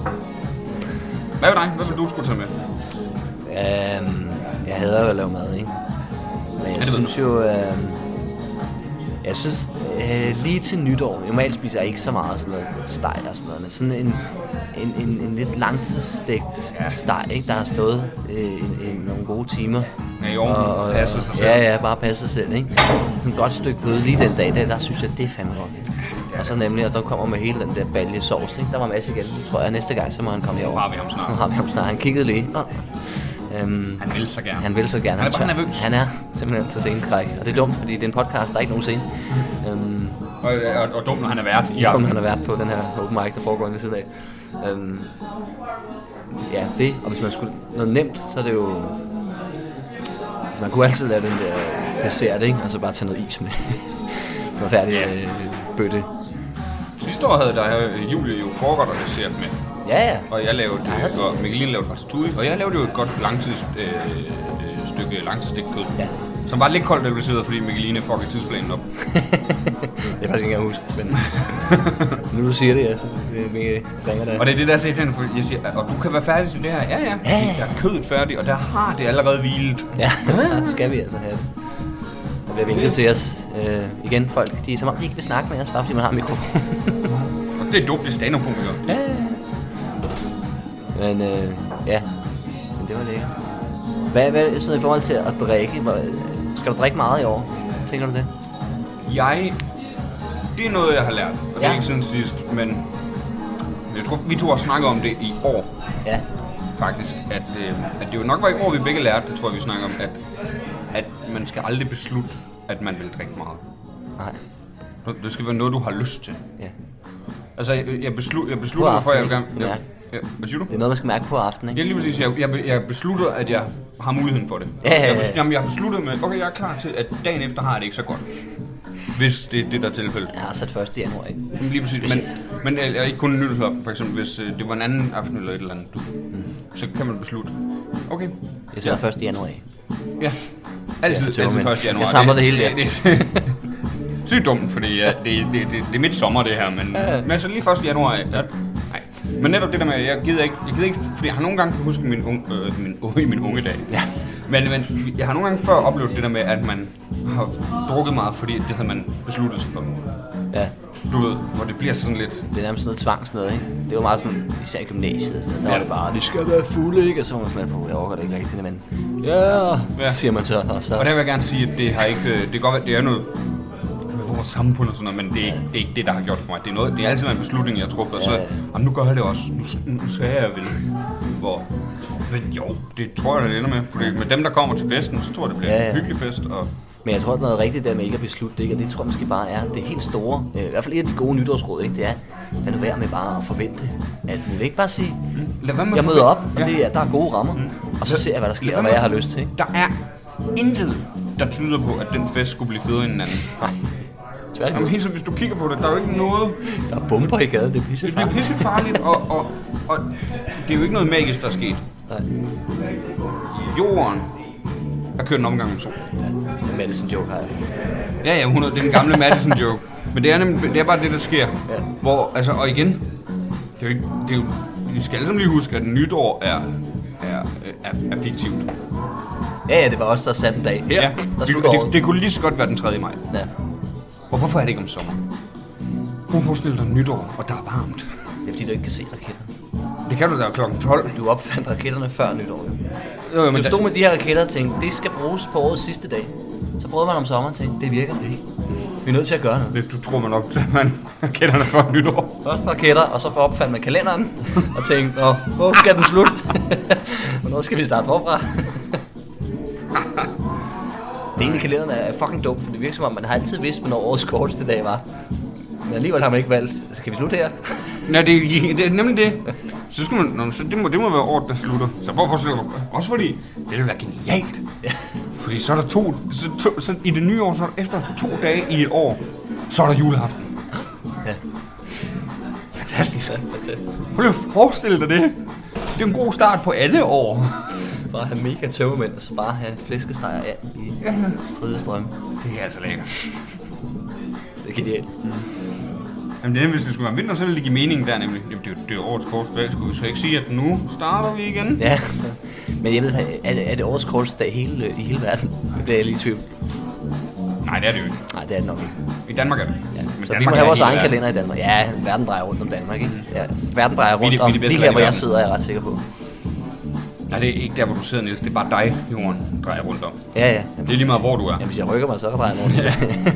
Speaker 4: Hvad med dig? Hvad vil du skulle tage med?
Speaker 2: Øhm, jeg hader jo at lave mad, ikke? Men jeg
Speaker 4: det ved
Speaker 2: synes jo... Øhm, jeg synes, øh, lige til nytår, normalt spiser jeg ikke så meget sådan noget steg og sådan noget, men sådan en, en, en, en lidt langtidsstegt steg, ikke, der har stået øh, en, en, nogle gode timer.
Speaker 4: Ja, i ovnen, passer sig selv.
Speaker 2: Ja, ja, bare passer sig selv, ikke? Sådan et godt stykke kød lige den dag, der, der synes jeg, det er fandme godt. Og så nemlig, og så kommer med hele den der balje sovs, ikke? Der var Mads igen, tror jeg. Næste gang, så må han komme herover.
Speaker 4: Nu har vi ham snart.
Speaker 2: Nu har vi ham snart. Han kiggede lige. Øhm,
Speaker 4: Han vil så gerne.
Speaker 2: han vil så gerne.
Speaker 4: Han er bare
Speaker 2: tør-
Speaker 4: nervøs.
Speaker 2: Han er simpelthen så sceneskræk. Og det er dumt, fordi det er en podcast, der er ikke nogen scene. Øhm,
Speaker 4: Og, øh, og, og dum, når han er vært.
Speaker 2: ja. Kom, han har været på den her open mic, der foregår inde ved siden af. Øhm, ja, det. Og hvis man skulle noget nemt, så er det jo... Altså, man kunne altid lave den der dessert, ikke? Og så bare tage noget is med. så er færdig yeah. øh, bøtte.
Speaker 4: Sidste år havde der øh, Julie jo forret og dessert med.
Speaker 2: Ja, ja.
Speaker 4: Og jeg lavede, øh, og Mikkeline lavede ratatouille, og jeg lavede jo et godt langtids, øh, øh, stykke langtidsstegt kød.
Speaker 2: Ja.
Speaker 4: Som var lidt koldt adviseret, fordi Mikkeline fuckede tidsplanen op.
Speaker 2: Det er faktisk ikke engang huske, men nu du siger det, altså. Det det ringer der.
Speaker 4: Og det er det, der sagde til hende, for jeg siger, og du kan være færdig til det her. Ja, ja,
Speaker 2: Ja, ja.
Speaker 4: Jeg er kødet færdig, og der har det allerede hvilet.
Speaker 2: Ja, der skal vi altså have det. Og bliver vinket til os. Øh, igen, folk, de er som om, de ikke vil snakke med os, bare fordi man har en mikrofon.
Speaker 4: Og det er dumt, det er stand
Speaker 2: Ja. Men øh, ja, men det var lækkert. Hvad, hvad sådan i forhold til at drikke? Hvor, skal du drikke meget i år? Tænker du det?
Speaker 4: Jeg... Det er noget, jeg har lært, og det
Speaker 2: Ja.
Speaker 4: er ikke siden sidst, men... Jeg tror, vi to har snakket om det i år,
Speaker 2: Ja.
Speaker 4: faktisk. At, øh, at det jo nok var i år, vi begge lærte, det tror jeg, vi snakker om, at, at man skal aldrig beslutte, at man vil drikke meget.
Speaker 2: Nej.
Speaker 4: Det skal være noget, du har lyst til.
Speaker 2: Ja.
Speaker 4: Altså, jeg, jeg, beslut, jeg besluttede mig for, at jeg vil gerne...
Speaker 2: aften,
Speaker 4: Ja,
Speaker 2: ikke?
Speaker 4: ja, hvad siger du?
Speaker 2: Det er noget, man skal mærke på aftenen,
Speaker 4: Jeg
Speaker 2: ikke?
Speaker 4: lige præcis, jeg, jeg, jeg beslutter, at jeg har muligheden for det.
Speaker 2: Ja, ja, ja.
Speaker 4: Jeg, bes- jamen, jeg har besluttet med, okay, jeg er klar til, at dagen efter har jeg det ikke så godt. Hvis det er det, der er tilfældet.
Speaker 2: Jeg har sat 1. januar, ikke?
Speaker 4: Jamen, Lige præcis, men, men øh, jeg er ikke kun nytårsaften, for eksempel, hvis øh, det var en anden aften eller et eller andet, du,
Speaker 2: Mm.
Speaker 4: så kan man beslutte. Okay,
Speaker 2: Jeg sætter 1. januar af.
Speaker 4: ja. Altid,
Speaker 2: Ja,
Speaker 4: ja, altid
Speaker 2: tømmer, mand.
Speaker 4: 1. januar.
Speaker 2: Jeg samler det hele, ja.
Speaker 4: det, Sygt dumt, fordi ja, det, det, det, det, er midt sommer det her, men, ja. men altså lige 1. januar, ja, nej. Men netop det der med, at jeg gider ikke, jeg gider ikke fordi jeg har nogle gange kan huske min, unge, øh, min, øh, i min unge dag.
Speaker 2: Ja.
Speaker 4: Men, men jeg har nogle gange før oplevet det der med, at man har drukket meget, fordi det havde man besluttet sig for.
Speaker 2: Ja.
Speaker 4: Du ved, hvor det bliver sådan lidt,
Speaker 2: Det er nærmest sådan noget tvang, sådan noget, ikke? Det var meget sådan, især i gymnasiet, og sådan noget. der ja. var
Speaker 4: Ja.
Speaker 2: det bare, det skal være fulde, ikke? Og så var man sådan, lidt, "Puh, jeg overgår det ikke rigtigt, men ja, ja.
Speaker 4: Ja.
Speaker 2: siger man så, og så
Speaker 4: Og der vil jeg gerne sige, at det har ikke... øh, Det kan godt være, det er noget med vores samfund og sådan noget, men det er, ikke, det er ikke det, der har gjort det for mig. Det er, noget, det er altid en beslutning, jeg har truffet, og så...
Speaker 2: Ja, ja.
Speaker 4: Jamen, nu gør jeg det også. Nu, s- nu skal jeg vel. Hvor... Men jo, det tror jeg, det ender med. Fordi med dem, der kommer til festen, så tror jeg, det bliver
Speaker 2: Ja,
Speaker 4: ja,
Speaker 2: ja.
Speaker 4: en hyggelig fest. Og
Speaker 2: Men jeg tror, der er noget rigtigt der med ikke at beslutte det, ikke? og det tror jeg måske bare er det helt store, øh, i hvert fald et af de gode nytårsråd, ikke? det er, lad nu være med bare at forvente alt muligt. Ikke bare sige,
Speaker 4: lad være med
Speaker 2: jeg
Speaker 4: at
Speaker 2: møder op,
Speaker 4: forvente- Mm.
Speaker 2: og det er, der er gode rammer, og så ser jeg, hvad
Speaker 4: Lad
Speaker 2: der sker,
Speaker 4: være
Speaker 2: og hvad
Speaker 4: med
Speaker 2: jeg har
Speaker 4: at-
Speaker 2: lyst til. Ikke?
Speaker 4: Der er intet, der tyder på, at den fest skulle blive federe end den anden.
Speaker 2: Nej,
Speaker 4: Jamen,
Speaker 2: tværtimod.
Speaker 4: helt som hvis du kigger på det, der er jo ikke noget...
Speaker 2: Der er bomber i gaden, det er
Speaker 4: Det bliver pissefarligt,
Speaker 2: pissefarligt.
Speaker 4: og, og, og det er jo ikke noget magisk, der er sket.
Speaker 2: Nej.
Speaker 4: Jorden er kørt en omgang om to.
Speaker 2: Madison joke har jeg.
Speaker 4: Ja, ja, 100, det er den gamle Madison joke. Men det er, nemlig, det er bare det, der sker.
Speaker 2: Ja.
Speaker 4: Hvor, altså, og igen, det er jo ikke, det er jo, vi skal alle sammen lige huske, at nytår er, er, er, er fiktivt.
Speaker 2: Ja, ja, det var også der satte en dag. Her,
Speaker 4: Ja,
Speaker 2: der
Speaker 4: det,
Speaker 2: slutter
Speaker 4: det,
Speaker 2: året.
Speaker 4: det, kunne lige så godt være den 3. maj.
Speaker 2: Ja,
Speaker 4: Og hvorfor er det ikke om sommer? Prøv at forestille dig nytår, og der er varmt.
Speaker 2: det er fordi, du ikke kan se raketterne.
Speaker 4: Det kan du da klokken 12.
Speaker 2: Du opfandt raketterne før nytår. jo.
Speaker 4: Jo, jo,
Speaker 2: Du
Speaker 4: men
Speaker 2: stod
Speaker 4: da,
Speaker 2: med de her raketter og tænkte, det skal bruges på årets sidste dag. Så prøvede man om sommeren og tænkte, det virker ikke. Vi er nødt til at gøre noget.
Speaker 4: det, du tror man nok, at man kender det for nytår.
Speaker 2: Først raketter, og så opfandt man kalenderen og tænkte, Nå, hvor skal den slutte? Hvornår skal vi starte forfra? det ene i kalenderen er fucking dope, for det virker som om, man har altid vidst, hvornår årets korteste dag var. Men alligevel har man ikke valgt, skal vi slutte her?
Speaker 4: Nej, det, er- det er nemlig det. Så skulle man, nå, så det, må, det må være året, der slutter. Så prøv at forestille dig, også fordi, det ville være genialt.
Speaker 2: Ja.
Speaker 4: Fordi så er der to, så, to, så i det nye år, så er der efter to dage i et år, så er der juleaften.
Speaker 2: ja. Fantastisk. Fantastisk.
Speaker 4: Prøv lige at forestille dig det. Det er en god start på alle år.
Speaker 2: Bare have mega tømmermænd, og så bare have flæskesteger af i stridestrøm.
Speaker 4: Det er altså lækkert.
Speaker 2: Det er genialt.
Speaker 4: Jamen det er, hvis det skulle være vinter, så ville det give mening der nemlig. Jamen, det, er jo- det er jo årets korteste dag, skulle vi så ikke sige, at nu starter vi igen?
Speaker 2: Ja, så. men jeg ved, er det, er det årets korteste dag hele, i hele verden? Det bliver jeg lige i tvivl.
Speaker 4: Nej, det er det jo ikke.
Speaker 2: Nej, det er det nok ikke.
Speaker 4: I Danmark er det.
Speaker 2: Ja.
Speaker 4: Men
Speaker 2: Så vi må
Speaker 4: Danmark
Speaker 2: have
Speaker 4: er
Speaker 2: vores
Speaker 4: hele
Speaker 2: egen
Speaker 4: verden. Mm.
Speaker 2: kalender i Danmark. Ja, verden drejer rundt om Danmark, ikke? Ja, verden drejer
Speaker 4: Vi er det- vi er
Speaker 2: rundt
Speaker 4: det
Speaker 2: om
Speaker 4: bedste
Speaker 2: lige
Speaker 4: land
Speaker 2: her,
Speaker 4: i
Speaker 2: hvor jeg
Speaker 4: verden.
Speaker 2: sidder, er jeg ret sikker på.
Speaker 4: Nej, det er ikke der, hvor du sidder, Niels. Det er bare dig, jorden drejer rundt om.
Speaker 2: Ja, ja.
Speaker 4: Det er lige meget, hvor du er.
Speaker 2: Ja, hvis jeg rykker mig, så drejer jeg rundt.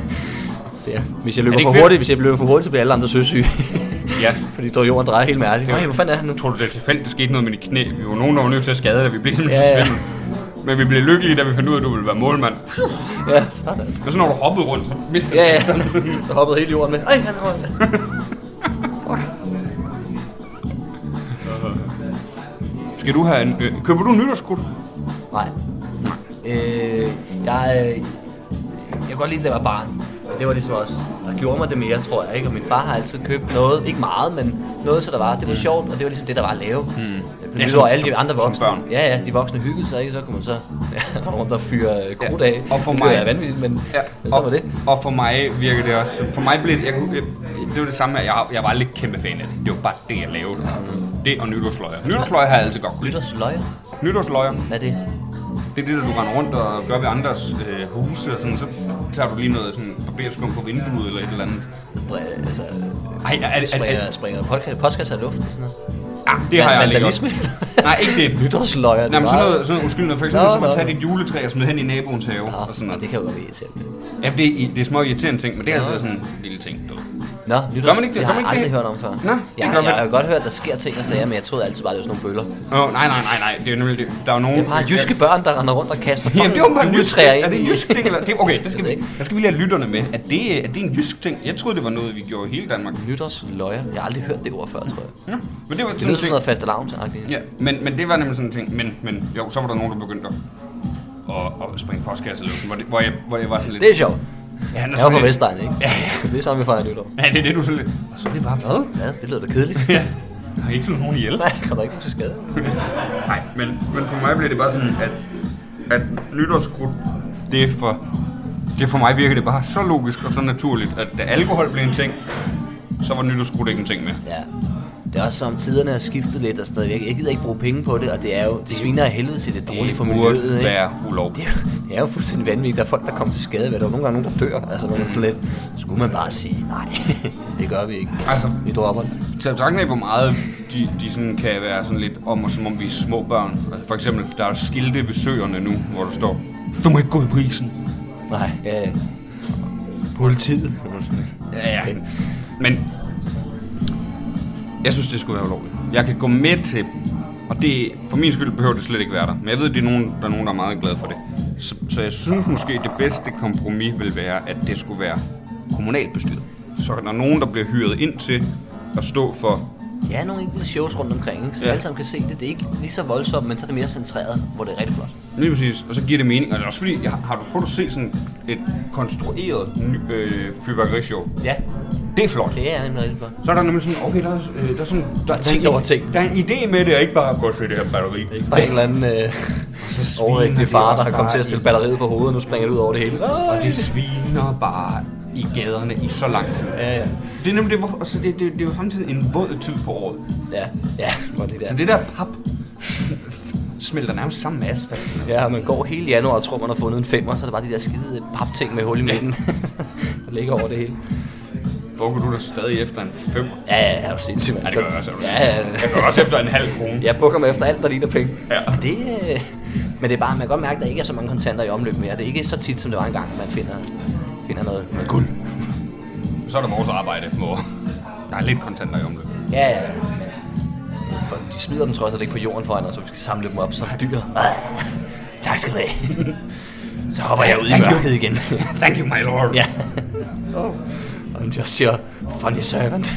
Speaker 2: Ja. Det er. Hvis jeg løber
Speaker 4: ikke
Speaker 2: for
Speaker 4: fedt?
Speaker 2: hurtigt, hvis jeg løber for hurtigt, så bliver alle andre søsyge.
Speaker 4: Ja.
Speaker 2: Fordi der jorden drejer helt mærkeligt. Nej, hvor fanden er han nu?
Speaker 4: Tror du, det er tilfældigt, der skete noget med dit knæ? Vi var nogen, der var nødt til at skade dig. Vi blev
Speaker 2: Ja,
Speaker 4: simpelthen
Speaker 2: ja.
Speaker 4: ja, ja. Men vi blev lykkelige, da vi fandt ud af, at du ville være målmand.
Speaker 2: Ja, sådan.
Speaker 4: Men så når du hoppede rundt, så mistede
Speaker 2: Ja, ja.
Speaker 4: du sådan.
Speaker 2: Så hoppede hele jorden med. Ej, han tror
Speaker 4: Skal du have en... Øh, køber du en nytårskut?
Speaker 2: Nej. Øh, jeg, øh, kan godt lide, at det var barn. Men det var ligesom også, der gjorde mig det mere, tror jeg. Ikke? Og min far har altid købt noget, ikke meget, men noget, så der var. Det var sjovt, og det var ligesom det, der var at lave. Mm.
Speaker 4: Mm. Ja,
Speaker 2: Ja,
Speaker 4: som-
Speaker 2: som, alle
Speaker 4: som-
Speaker 2: de andre
Speaker 4: som
Speaker 2: voksne.
Speaker 4: børn.
Speaker 2: Ja, ja, de voksne hyggede sig, ikke? så kunne man så ja, rundt og fyre øh, krudt af.
Speaker 4: og for
Speaker 2: Det
Speaker 4: mig-
Speaker 2: er vanvittigt, men, ja.
Speaker 4: Ja,
Speaker 2: men så
Speaker 4: og,
Speaker 2: var det.
Speaker 4: og for mig virker det også... For mig blev det... Jeg, kunne- jeg, det var det samme her. Jeg, jeg var aldrig kæmpe fan af det. Det var bare det, jeg lavede. Det og nytårsløjer. Nytårsløjer har jeg altid godt kunne lide.
Speaker 2: Nytårsløjer,
Speaker 4: Nytårsløjer,
Speaker 2: hvad er det?
Speaker 4: det er det, der du render rundt og gør ved andres øh, huse og sådan. Så tager du lige noget sådan barberskum på vinduet eller et eller andet.
Speaker 2: Bre- altså, øh,
Speaker 4: Ej, er, er, er,
Speaker 2: springer,
Speaker 4: er,
Speaker 2: springer podcast, podcast af luft og sådan noget.
Speaker 4: ah, det har jeg aldrig gjort.
Speaker 2: vandalisme?
Speaker 4: Nej, ikke det.
Speaker 2: Nytårsløjer, det
Speaker 4: Nej, men sådan
Speaker 2: var-
Speaker 4: noget, sådan noget uskyldigt. noget. For eksempel,
Speaker 2: Nå,
Speaker 4: så må man
Speaker 2: nå.
Speaker 4: tage dit juletræ og smide hen i naboens have.
Speaker 2: Nå,
Speaker 4: og sådan noget.
Speaker 2: det kan jo godt være irriterende.
Speaker 4: Ja, det, er, det er små irriterende ting, men det er altså sådan en lille ting. Du. ved.
Speaker 2: Nå, lytter,
Speaker 4: Gør man ikke det?
Speaker 2: det
Speaker 4: Gør
Speaker 2: har
Speaker 4: man
Speaker 2: jeg
Speaker 4: ikke
Speaker 2: aldrig
Speaker 4: det?
Speaker 2: hørt om før.
Speaker 4: Nå, det
Speaker 2: jeg,
Speaker 4: gør
Speaker 2: har,
Speaker 4: man.
Speaker 2: jeg har godt hørt, der sker ting og sager, men jeg troede altid bare, det var sådan nogle bøller.
Speaker 4: Åh, nej, nej, nej, nej. Det er jo nemlig det. Der er jo nogen...
Speaker 2: Jeg har jyske børn, der render rundt og kaster
Speaker 4: Jamen, det er jo bare en jysk ting.
Speaker 2: juletræer ind
Speaker 4: Er det en
Speaker 2: i-
Speaker 4: jysk ting? Eller? Det, okay, det skal
Speaker 2: Jeg ved
Speaker 4: vi,
Speaker 2: ikke.
Speaker 4: der skal vi lige have lytterne med. Er det, er det en jysk ting? Jeg troede, det var noget, vi gjorde i hele Danmark.
Speaker 2: Nytårsløjer. Jeg har aldrig hørt det ord før, tror jeg.
Speaker 4: Ja. Men det var sådan
Speaker 2: Det lyder
Speaker 4: en
Speaker 2: som
Speaker 4: ting.
Speaker 2: noget fast alarmsagtigt.
Speaker 4: Ja, men, men det var nemlig sådan en ting. Men, men jo, så var der nogen, der begyndte at, at, at springe postkasse i luften, hvor, det, hvor, jeg, hvor jeg var sådan lidt...
Speaker 2: Det er sjovt.
Speaker 4: ja, han er
Speaker 2: Jeg var
Speaker 4: sådan
Speaker 2: på
Speaker 4: lidt-
Speaker 2: Vestegn, ikke?
Speaker 4: Ja,
Speaker 2: Det er samme, vi fejrer nytår.
Speaker 4: ja, det er det, du er sådan lidt...
Speaker 2: Og så er det bare hvad? Ja, det lyder da kedeligt.
Speaker 4: Jeg har ikke slået nogen ihjel.
Speaker 2: Nej, jeg kommer ikke til skade.
Speaker 4: Nej, men, men for mig bliver det bare sådan,
Speaker 2: Mm.
Speaker 4: at, at nytårskrudt, det er for... Det for mig virker det bare så logisk og så naturligt, at da alkohol blev en ting, så var nytårskrudt ikke en ting mere.
Speaker 2: Ja. Det er også som tiderne har skiftet lidt og stadigvæk. Jeg gider ikke bruge penge på det, og det er jo, det sviner af helvede til det er dårligt for miljøet,
Speaker 4: burde
Speaker 2: ikke?
Speaker 4: være ulovligt.
Speaker 2: Det er, jo, det er jo fuldstændig vanvittigt. Der er folk, der kommer til skade ved det. Der er nogle gange nogen, der dør. Altså, når man så lidt, skulle man bare sige, nej, det gør vi ikke.
Speaker 4: Altså,
Speaker 2: Vi dropper det.
Speaker 4: til tanken af, hvor meget de, de sådan kan være sådan lidt om, og som om vi er små børn. Altså, for eksempel, der er skilte ved søerne nu, hvor der står, du må ikke gå i prisen.
Speaker 2: Nej, ja, ja. Politiet.
Speaker 4: Ja, ja. Men jeg synes, det skulle være ulovligt. Jeg kan gå med til, og det, for min skyld behøver det slet ikke være der. Men jeg ved, det er nogen, der er nogen, der er meget glade for det. Så, så jeg synes måske, det bedste kompromis vil være, at det skulle være kommunalbestyret. Så når nogen, der bliver hyret ind til at stå for
Speaker 2: Ja, nogle enkelte shows rundt omkring, ikke? så ja.
Speaker 4: Ja.
Speaker 2: alle sammen kan se det. Det er ikke lige så voldsomt, men så er det mere centreret, hvor det er rigtig flot.
Speaker 4: Lige præcis, og så giver det mening. Og det er også fordi, jeg har, har du prøvet at se sådan et konstrueret ny, øh, fyrværkerishow?
Speaker 2: Ja,
Speaker 4: Det er flot.
Speaker 2: det er nemlig rigtig flot.
Speaker 4: Så er der nemlig sådan, okay, der er, øh, der er sådan... Der, der,
Speaker 2: tænkt
Speaker 4: en-
Speaker 2: over ting.
Speaker 4: Der er en idé med det, og ikke bare gå og se det her batteri.
Speaker 2: Bare en eller anden øh,
Speaker 4: Så
Speaker 2: overvægtig
Speaker 4: sviner
Speaker 2: far,
Speaker 4: de
Speaker 2: der
Speaker 4: også
Speaker 2: har kommet til
Speaker 4: bare
Speaker 2: at stille batteriet på hovedet, og nu springer det ud over det hele.
Speaker 4: i- Og det sviner bare i gaderne i så lang tid.
Speaker 2: Ja, ja.
Speaker 4: Det er nemlig det, hvor, og så det, det, det, er jo samtidig en våd tid på året.
Speaker 2: Ja, ja, og det der.
Speaker 4: Så det der pap smelter nærmest sammen med asfalten.
Speaker 2: Ja, og man går hele januar og tror, man har fundet en femmer, så er det bare de der skide papting med hul i midten, der ligger over det hele.
Speaker 4: Hvor kunne du da stadig efter en fem?
Speaker 2: Ja, ja, ja, det er jo sindssygt, mand.
Speaker 4: Ja, det gør jeg også. er du
Speaker 2: Ja, ja,
Speaker 4: Jeg gør også efter en halv krone.
Speaker 2: jeg bukker mig efter alt, der ligner penge.
Speaker 4: Ja.
Speaker 2: Og Det, øh, men det er bare, man kan godt mærke, at der ikke er så mange kontanter i omløb mere. Det er ikke så tit, som det var engang, man finder, finder noget. noget guld.
Speaker 4: Så er der vores arbejde, hvor der er lidt kontanter i omløb.
Speaker 2: Ja, ja. For de smider dem trods alt ikke på jorden foran os, så vi skal samle dem op som dyr. Ah, tak skal du have. Så hopper jeg ud i
Speaker 4: Thank you.
Speaker 2: mørket igen.
Speaker 4: Thank you, my lord.
Speaker 2: ja. Oh. I'm just your funny servant.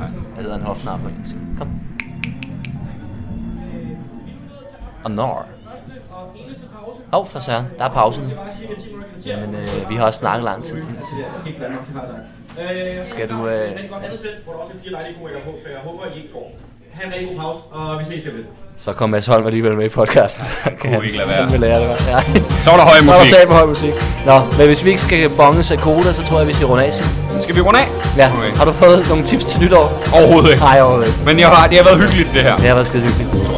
Speaker 2: Jeg hedder en hofnar på engelsk. Kom. Og når. Åh, oh, for søren. Der er pausen. Jamen, øh, vi har også snakket lang tid. Skal du... Øh, så kom Mads Holm alligevel med i podcasten. Så kan
Speaker 4: vi ikke lade være.
Speaker 2: fandme lære det, hva'? Ja.
Speaker 4: Så var der høj
Speaker 2: Så var
Speaker 4: musik.
Speaker 2: sat på høj musik. Nå, men hvis vi ikke skal bonge sig koda, så tror jeg, vi skal runde af. Sim.
Speaker 4: Skal vi runde af?
Speaker 2: Ja,
Speaker 4: Okay.
Speaker 2: har du fået nogle tips til nytår?
Speaker 4: Overhovedet ikke.
Speaker 2: Nej, overhovedet ikke.
Speaker 4: Men jeg har, det har været hyggeligt, det her.
Speaker 2: Det har været skide hyggeligt.